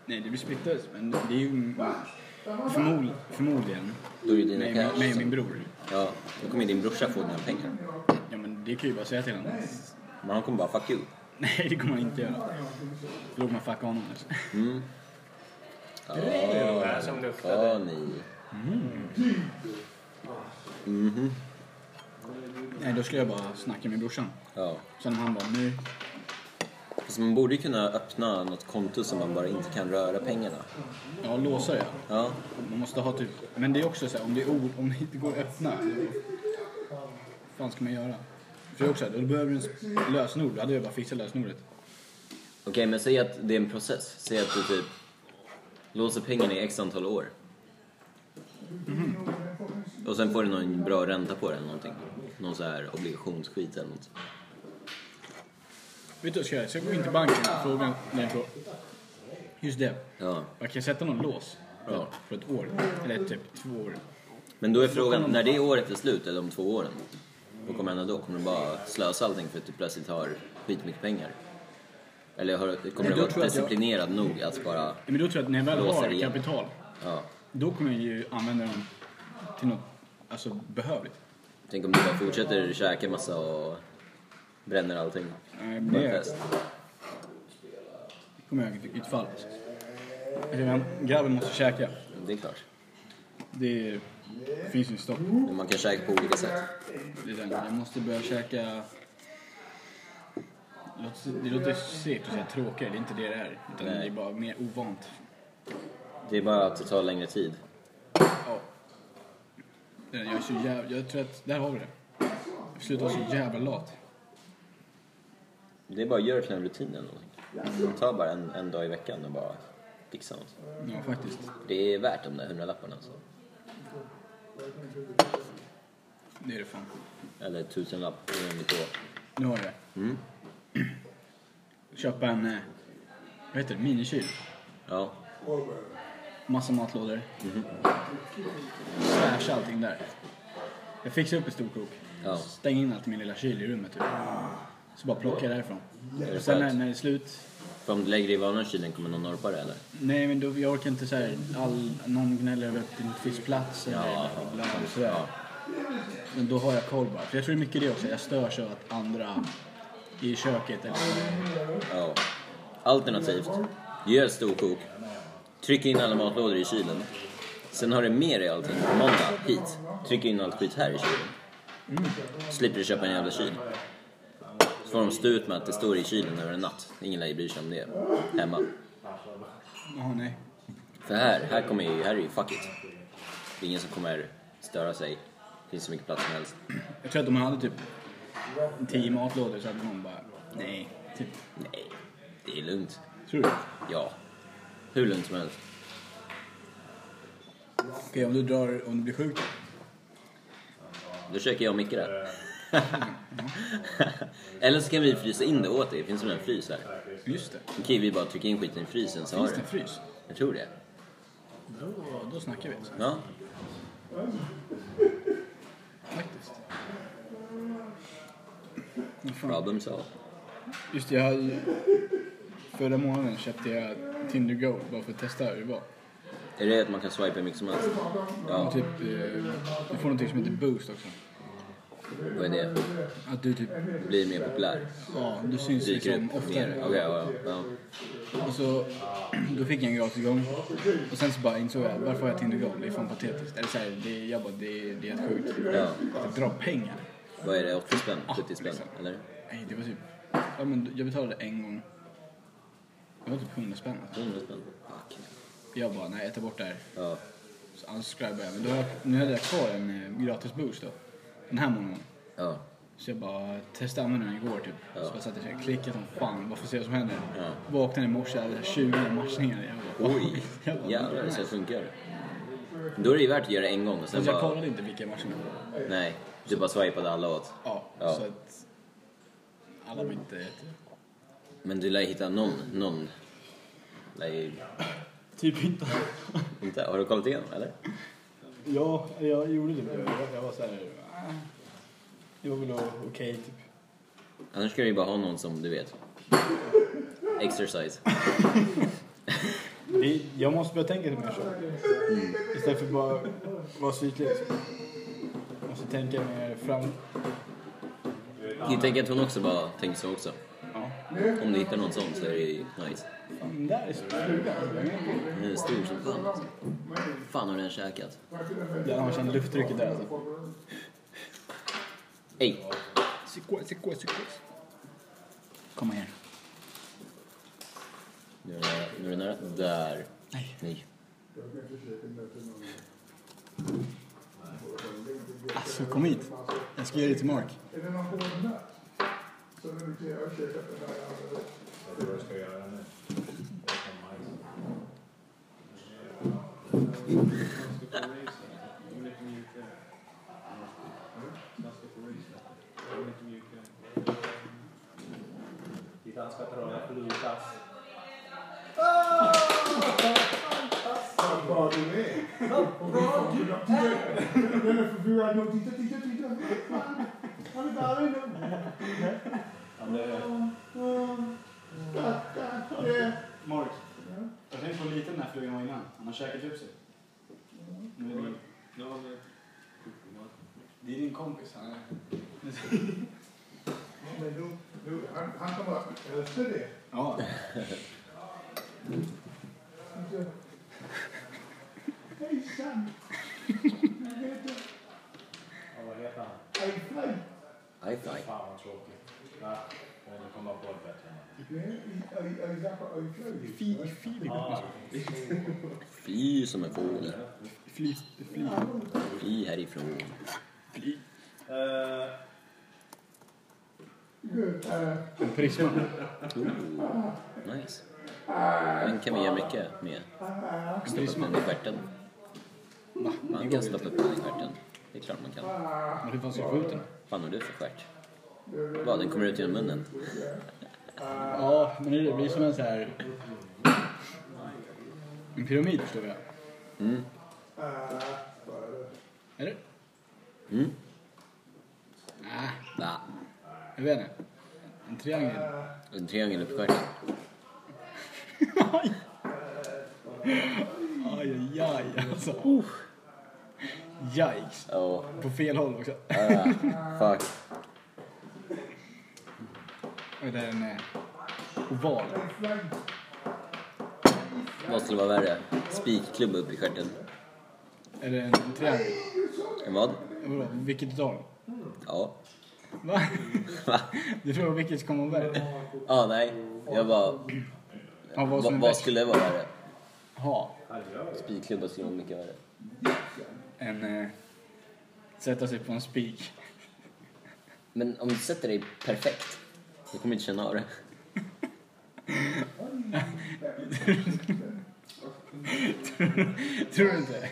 Nej, det blir splittrat. Men det är ju förmod, förmodligen Då är det dina mig, cash. mig och min bror. Ja, då kommer din brorsa få dina pengar. Ja, men det kan ju bara säga till honom. Men han kommer bara 'fuck you'. Nej, det kommer han inte göra. Låt man fucka honom. Alltså. Ja, här som luktade. ja ni. Nej, då skulle jag bara snacka med brorsan. Ja. Sen om han bara, nu... Fast man borde ju kunna öppna något konto som man bara inte kan röra pengarna. Ja, låsa ja. Ja. Man måste ha typ... Men det är också så här, om det är ord, om det inte går att öppna. vad fan ska man göra? För jag också, här, då behöver du en s- lösenord. Då hade jag bara fixat lösenordet. Okej, men säg att det är en process. Säg att du typ låser pengarna i x antal år. Och sen får du någon bra ränta på det eller någonting. Någon så här obligationsskit eller något. Vet du vad jag ska göra? Jag ska gå in till banken och fråga... Nej, på. Just det. Ja. Man kan sätta någon lås för, Ja. för ett år. Eller typ två år. Men då är frågan, när det året är slut, eller om två åren, vad kommer hända då? Kommer de bara slösa allting för att du plötsligt har skitmycket pengar? Eller har, kommer då du tror vara jag att jag- disciplinerad nog att bara... Men då tror jag att när jag väl Låser har igen. kapital, Ja. då kommer jag ju använda dem till något alltså, behövligt. Tänk om du bara fortsätter käka massa och bränner allting. Nej, På en Det fest. kommer jag i ett fall. alltså. Alltså, men grabben måste käka. Det är klart. Det är- finns ju inte stopp. Men man kan käka på olika sätt. Det är den. Jag måste börja käka... Det låter- Det låter segt att säga tråkigare, det är inte det det är. Utan Nej. det är bara mer ovant. Det är bara att det tar längre tid. Ja. Jag är så jävla... Jag tror att... Där har vi det. Jag slutar vara så jävla lat. Det är bara att göra till en rutin eller någonting. Ta bara en, en dag i veckan och bara fixa något. Ja, faktiskt. Det är värt de där hundralapparna alltså. Det är det fan. Eller tusenlapp, beroende på. Nu har jag det. Köpa en... eh, Vad heter det? Minikyl. Ja, Massa matlådor. Smasha allting där. Jag fixar upp en stor kok. Ja. Stäng in allt i min lilla kyl i rummet typ. Så bara plockar jag därifrån. Är det Och sen när, skönt? när det är slut. För om du lägger det i vanliga kylen kommer någon norpa det eller? Nej men då, jag orkar inte såhär, all, någon gnäller över att det inte finns plats eller Ja. bla, bla, sådär. Men då har jag koll bara. För jag tror det är mycket det också, jag störs av att andra i köket eller Ja. Alternativt, gör ett storkok, tryck in alla matlådor i kylen. Sen har du med dig allting på måndag hit. Tryck in allt skit här i kylen. Slipper du köpa en jävla kyl. Så får de stå ut med att det står i kylen över en natt. Ingen lär ju bry sig om det hemma. Jaha, nej. För här, här kommer ju, här är ju fuck it. Det är ingen som kommer störa sig. Det finns så mycket plats som helst. Jag tror att om man hade typ tio matlådor så hade någon bara, nej. Typ. Nej, det är lugnt. Tror du? Ja. Hur lugnt som helst. Okej, om du drar, om du blir sjuk då? Då köker jag och Micke det. Eller så kan vi frysa in det åt dig. Det finns väl en frys här? Just det. Då kan ju vi bara trycka in skiten i frysen så har Finns det du en frys? Jag tror det. Då, då snackar vi. alltså. Ja. Faktiskt. Vad fan. Problem solved. Just det, jag hade... Förra månaden köpte jag Tinder Gold bara för att testa hur det var. Är det att man kan swipa hur mycket som helst? Och Ja, typ, eh, du får någonting som heter Boost också. vad är det? Att du typ, Blir mer populär? ja, du syns Dyker liksom upp mer? oftare. Okej, ja, ja, ja. Och så, då fick jag en gratisgång. Och sen så bara insåg jag, varför har jag Tinder Gold? Det är fan patetiskt. Eller såhär, det, jag bara, det, det är helt sjukt. ja. Att dra pengar. Vad är det? 80 spänn? 70 spänn? liksom. Eller? Nej, det var typ, ja men jag betalade en gång. Det var typ 100 spänn alltså. 100 spänn? Fuck. Jag bara, nej jag tar bort det här. Ja. Så unscribade jag. Men då har jag, nu hade jag kvar en eh, gratis boost då. Den här månaden. Ja. Så jag bara testade att använda den igår typ. Så jag satt och klickade klickat som fan bara för att se vad som händer. Ja. Vaknade i morse, jag hade 20 matchningar. Jag bara, Oj! Jag bara, Jävlar, så nice. det funkar. Då är det ju värt att göra en gång och sen Fast Alltså, jag bara... kollade inte vilka matcher det var. Nej, du bara swipade alla åt. Ja, Ja. så att alla var inte... Men du lär hitta någon, någon. Lär ju... Typ inte. Inte? Har du kollat igenom eller? Ja, jag gjorde det. Jag, jag var så här... "Ah, Det var väl okej, typ. Annars ska du ju bara ha någon som du vet. Exercise. Det, jag måste börja tänka lite mer så. Istället för bara vara ytlig. Liksom. Måste tänka mer fram... Jag tänker att hon också bara tänker så också. Ja. Om du hittar någon sån så är det ju nice. Fan, den där är så flugan. Den är stor som fan. alltså. fan har den käkat? Jävlar man känner lufttrycket där alltså. Ey! Sikwa, sikwa, sikwa. Kom här. Nu är det nära. Nu är det nära. Där. Nej. Nej. Alltså kom hit. Jag ska ge det till Mark. Är det någon ordnad? Så när du kan jag köpa den här. ja, Vi danska trollar på Lukas. Vad bra du är. Vad bra du är. Den är förvirrad nu. Titta, titta, titta. Fan, Han är galen nu. Mark. Jag tänkte på hur liten den här flugan var innan. Han har käkat upp sig. Nu är det... Det är din kompis. Han är... Men nu, nu, han, han kommer att älska det. Ja. Hejsan. Jag heter Ja, vad heter han? Eifrey. High five. Fan vad tråkigt. Va? Jag måste komma på ett bättre namn. Eifrey. Eifrey. Fi, fi, Ja, Fly som en fågel. fly, fly. Fly härifrån. eh, En prisma. Ooh, Mm. nice. Den kan vi göra mycket med. Stoppa upp den i stjärten. Man kan stoppa upp den i stjärten. Det är klart man kan. Men hur fan ska jag få ut den? fan har du för stjärt? Vad, den kommer ut genom munnen? Ja, men det blir som en så här... En pyramid förstår jag. Mm. Eller? Mm. Nej, Va? jag vet inte. En triangel. En triangel upp i stjärten. Aj, aj, aj alltså. Uh. Yikes. Ja. På fel håll också. Ah, fuck. Och det är en eh, oval. Vad skulle vara värre? Spikklubba upp i stjärten. Eller en, en triangel. En vad? Vadå, vilket utav dem? Ja. Va? Va? Du frågar vilket som kommer vara värre? Ja, nej. Jag bara... Ja, vad som Vad, är vad bäst. skulle vara värre? ha Spikklubba skulle vara mycket värre. en... Eh, sätta sig på en spik. Men om du sätter dig perfekt, då kommer du inte känna av det. Tror du inte? Det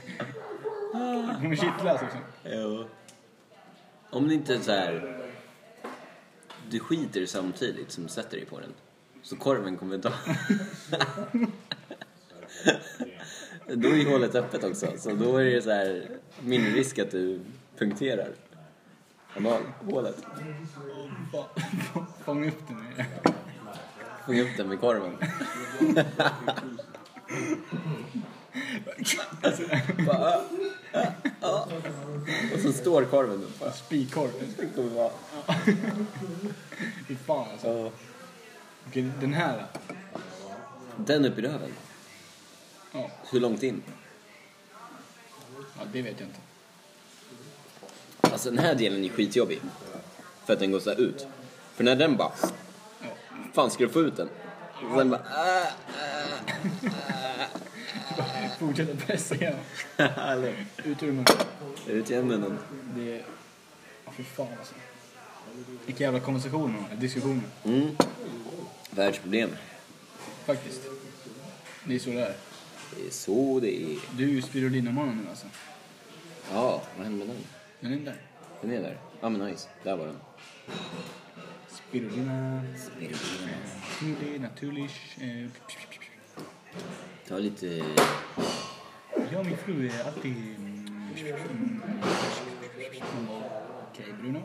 kommer kittlas liksom. Jo. Eh, Om det inte är så här... Du skiter samtidigt som du sätter dig på den. Så korven kommer ta... då är ju hålet öppet också, så då är det så här mindre risk att du punkterar analhålet. Fånga upp den med Fånga upp den med korven. Bara, ah, ah, ah. Och så står korven upp. bara. spikkorven. Det kommer vara... Fy fan alltså. Ja. Okej, den här då? Den upp i röven? Ja. Hur långt in? Ja, det vet jag inte. Alltså den här delen är skitjobbig. För att den går så här ut. För när den bara... Fan ska du få ut den? Och sen bara... Ah, Fortsätt pressa igenom. Eller- Ut ur munnen. "Ah, ut genom munnen. Det är... Ja, fy fan alltså. Vilka jävla konversationer, man har, diskussioner. Mm. Världsproblem. Faktiskt. Det är så det är. Det är så det är. Du är ju spirulinamannen nu alltså. Ja, vad hände med den? Den är där. Den är där. Ja men nice. Där var den. Spirulina. Naturlig, naturlig. eh, Ta lite... Jag och min fru är alltid... eh, mm, mm, Okej, Bruno.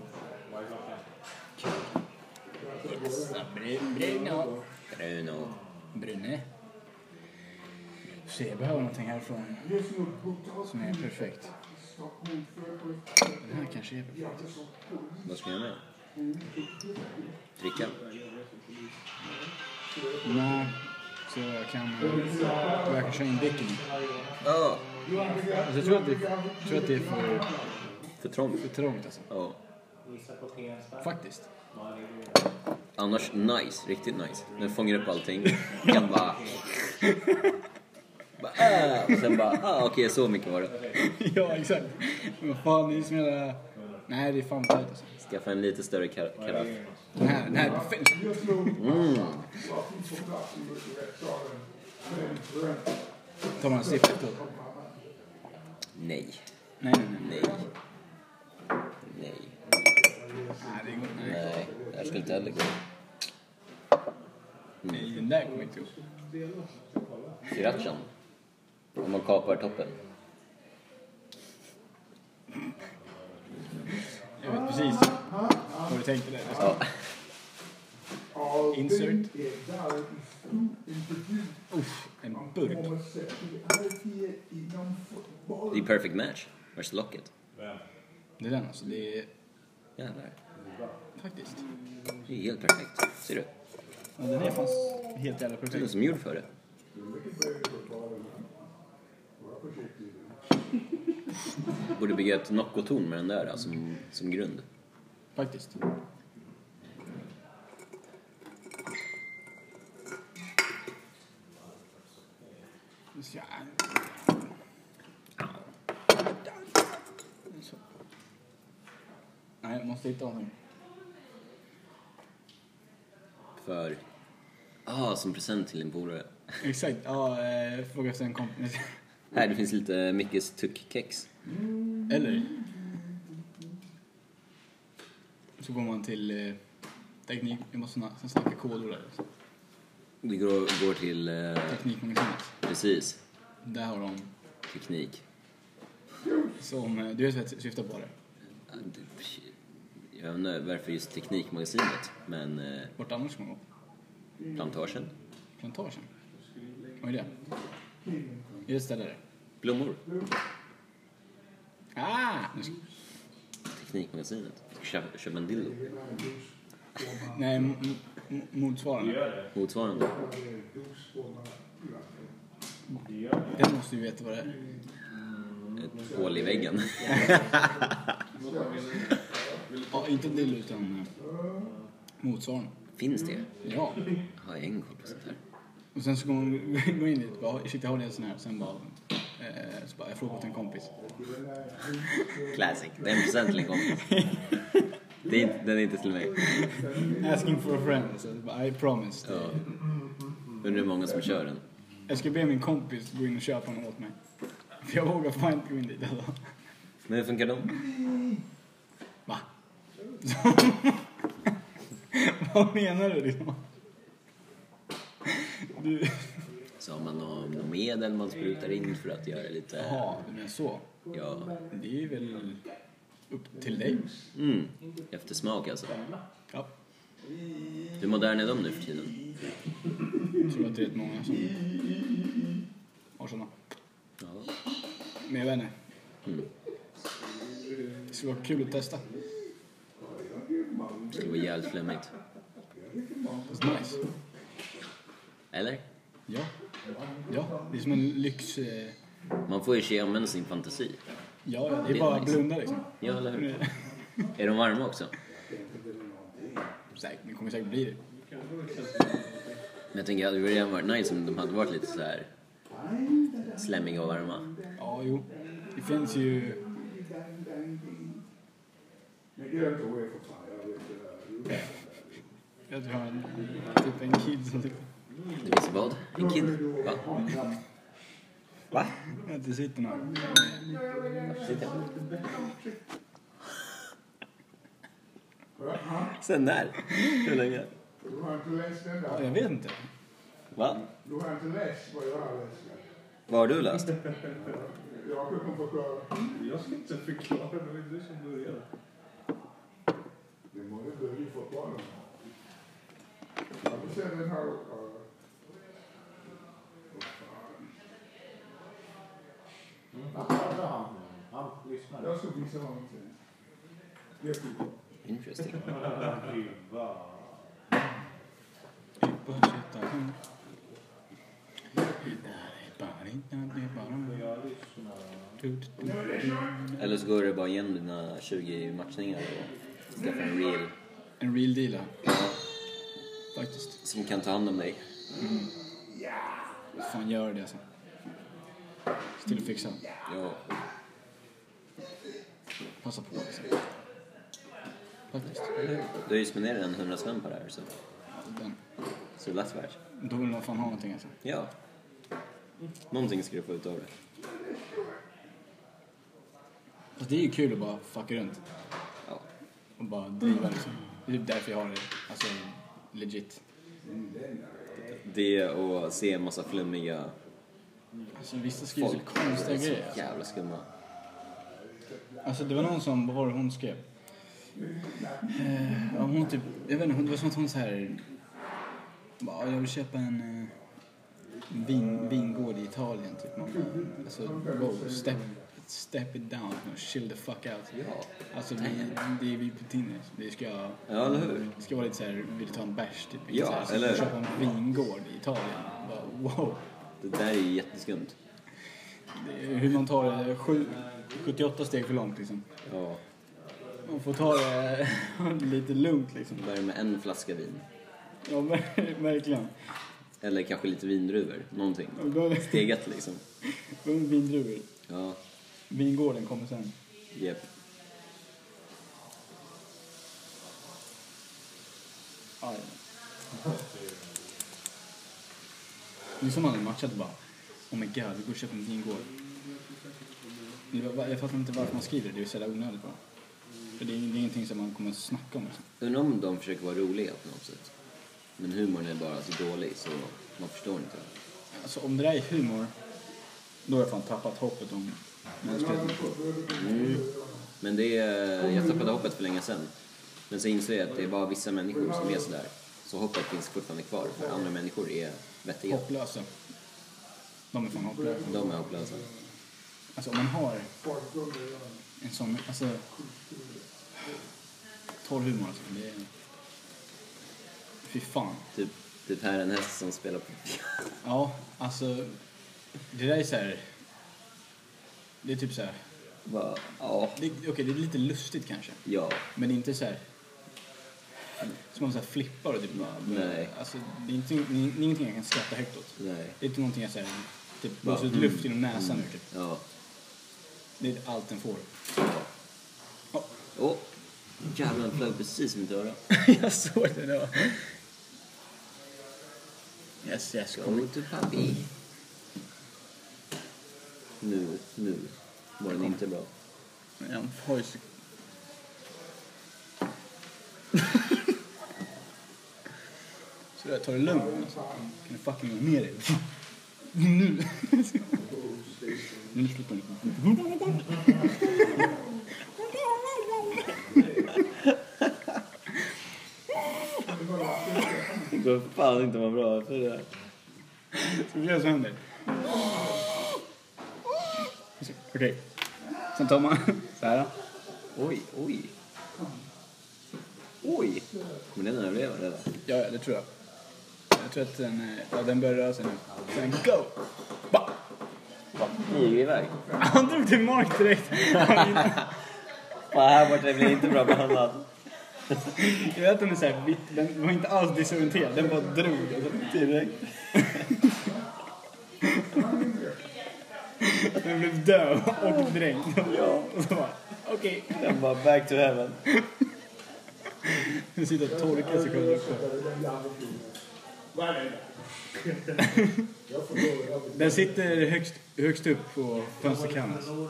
Yes, Bru- Bruno. Bruno. Brune. Så jag behöver någonting härifrån som är perfekt. Den här kanske är perfekt. Vad ska jag göra? Dricka? Nej, så jag kan... Jag kan köra in däcken i. Ja. Alltså, jag tror att det, jag tror att det är för, För trångt? för trångt alltså. Ja. Faktiskt. Annars nice, riktigt nice. Den fångar upp allting. Kan bara... bara äh, och sen bara, ah, okej så mycket var det. ja, exakt. Men vad fan, det är som jävla... Nej, det är fan tajt alltså. Skaffa en lite större kar- karaff. Den här, den här är perfekt. Mm. Tar man en sipp efter. Nej, Nej, nej, nej. nej, nej, Nej, det går nej. nej. Det här skulle inte heller gå. nej. Den där kommer inte ihop. Srirachan. Om man kapar toppen. Jag vet precis vad du tänkte där. Ja. Insert. Insert. Uff, en burk. Det är perfect match. Värsta locket. Det är den alltså. Det är Jävlar. faktiskt. Det är helt perfekt. Ser du? Ja, den är fan helt jävla Den är perfekt. som gjord för det. Borde bygga ett Nocco-torn med den där alltså, som, som grund. Faktiskt. Ja. Så. Nej, jag måste hitta honom. För... Ah, som present till din polare. Exakt. Ja, eh, fråga efter en kompis. Här, det finns lite Mickes tuckkex. Eller? Så går man till eh, teknik... Jag måste sna- snacka kodord där. Det går, går till... Eh, Teknikmagasinet. precis. Där har de Teknik. som... eh, Du vet vad jag syftar på det? Ah, det- Jag vet inte varför just Teknikmagasinet, men eh, Vart annars ska man gå? plantagen. Plantagen? Vad är det? Är det ett ställe där? Blommor. Ah! Nu ska- Teknikmagasinet. Köp, köp en dildo. Nej, m- m- m- motsvarande. Motsvarande. Den måste ju veta vad det är. Ett hål i väggen. Ja, inte en del utan eh, motsvarande. Finns det? Ja. Jag har ingen koll på sånt här. Och sen så går hon går in dit och bara, shit jag har en sån här. Sen bara, eh, så bara, jag frågar åt en kompis. Classic. Det är en present till en kompis. Det är inte, den är inte till mig. Asking for a friend. Så jag bara, I promise. Ja. Undrar hur många som kör den. Jag ska be min kompis gå in och köpa något åt mig. För jag vågar fan inte gå in dit alltså. Men hur funkar de? Va? Vad menar du liksom? Du... Så har man nå- något medel man sprutar in för att göra lite... Jaha, du menar så. Ja. Det är ju väl upp till dig. Mm. Eftersmak alltså. Ja. Hur moderna är de nu för tiden? Jag tror att det är rätt många som har sådana. Ja. Men jag vet inte. Mm. Det skulle vara kul att testa. Det skulle vara jävligt flummigt. Fast nice. Eller? Ja. Ja, det är som en lyx... eh, Man får ju se använda sin fantasi. Ja, ja, det Det är är bara att nice. blunda liksom. Ja, eller hur? Är de varma också? Säkert, det kommer säkert bli det. Men jag tänker, det hade redan varit nice om de hade varit lite så här slemmiga och varma. Ja, jo. Det finns ju... uh, Jag tror en, typ en kid som typ... Det finns vad? En kid? Va? Va? Att det sitter någon. Sen när? Hur länge? Du har inte läst den Ja, där. Jag vet inte. Va? Du har inte läst vad jag har läst. Vad har du läst? Jag kommer förklara. Jag ska inte förklara, det var ju du som började. Det må du börja få barnen. Har du sett den här... eh, Han vad fan? pratar han. Han lyssnar. Jag ska visa honom till dig. Det är skit. Interesting. Eller så går du bara igenom dina 20 matchningar och skaffar en reel En real deal ja. Faktiskt. som kan ta hand om dig. Fan gör det alltså. Se till att fixa. Ja. Passa på liksom. Faktiskt. Du har ju spenderat en 100 spänn på det här så, Den. så det är lätt värt. Då vill man fan ha någonting alltså. Ja. Någonting ska du få ut av det. Fast det är ju kul att bara fucka runt. Ja. Och bara driva liksom. Det är typ därför jag har det. Alltså legit. Det och se en massa flummiga Alltså vissa skriver så folk. konstiga Det är grejer. så Alltså. jävla skumma. alltså det var någon som, vad var det hon skrev? Eh, ja, hon typ, jag vet inte, det var som att hon så här. Bara, jag vill köpa en eh, en vin, vingård i Italien typ. Man bara, alltså wow, step, step it down och chill the fuck out. Ja. Alltså vi, det är vi på Tinder. Det ska, Ja, eller hur? det ska vara lite så här, vill du ta en bärs typ? Ja, så här, så eller hur? Köpa en vingård i Italien. Bara, wow. Det där är ju jätteskumt. Det är hur man tar det sju, 78 steg för långt liksom. Ja. Man får ta det lite lugnt liksom. Börja med en flaska vin. Ja, ver- verkligen. Eller kanske lite vindruvor. Någonting. Och Då är det Stegat liksom. då är det vindruvor. Ja. Vingården kommer sen. Jep. Aj. Det är som man hade matchat bara. Oh my god, vi går och köper en vingård. Det var- Jag fattar inte varför man skriver det. Det är så jävla onödigt bara. För det är, det är ingenting som man kommer att snacka om. Liksom. Undrar om de försöker vara roliga på något sätt. Men humorn är bara så dålig så man förstår inte. Alltså om det där är humor, då har jag fan tappat hoppet om mänskligheten. Men det är... Jag tappade hoppet för länge sedan. Men så inser jag att det är bara vissa människor som är sådär. Så hoppet finns fortfarande kvar. För andra människor är vettiga. Hopplösa. De är fan hopplösa. De är hopplösa. Alltså om man har uh, en sån, alltså... Torr humor alltså. Det är... Fy fan. Typ, typ här är en häst som spelar på piano. Ja, alltså... Det där är så här... Det är typ så här... Bara, Ja. det- Okej, det är lite lustigt kanske. Ja. Men det är inte så här... Som man så här flippar och typ bara... Nej. Alltså, det är inte, det är ingenting jag kan skratta högt åt. Nej. Det är inte någonting jag säger typ blåser ut luft genom näsan nu typ. Ja. Det är allt den får. Åh! Oh. Jävlar, den flög precis i mitt öra. jag såg det då. Yes, yes, kom. Go to puppy. Nu, nu var den inte bra. Jag har ju så... Så där, ta det lugnt. Alltså. Kan du fucking gå ner dig? Nu! Nu slutar ni. Det går fan inte vara bra efter det där. Ska vi göra så händer? Okej. Sen tar man så här. Oj, oj. Oj! Men den överlever eller? Ja, ja, det tror jag. Jag tror att den, eh, ja, den börjar röra sig nu. Sen go! Ba! Flyger iväg. Han drog till mark direkt. Fan, här borta blir inte bra behandlad. Jag vet att den är så här, vitt- den var inte alls disorienterad. Den bara drog. Alltså, direkt. Den blev döv och dränkt. Ja. Och så bara, okej. Den bara back to heaven. Nu sitter och torkar sig själv också. Den sitter högst, högst upp på fönsterkanten.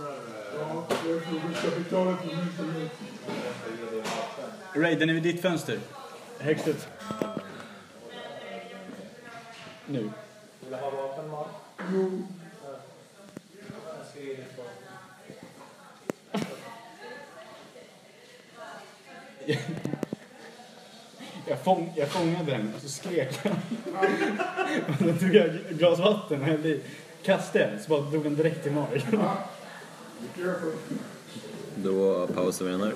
Ray, den är vid ditt fönster. Högst upp. Nu. Jag, fång, jag fångade den och så skrek jag. Och Då tog jag ett glas vatten och hällde i. Kastade jag den, så bara drog den direkt i magen. Då pausar vi den här.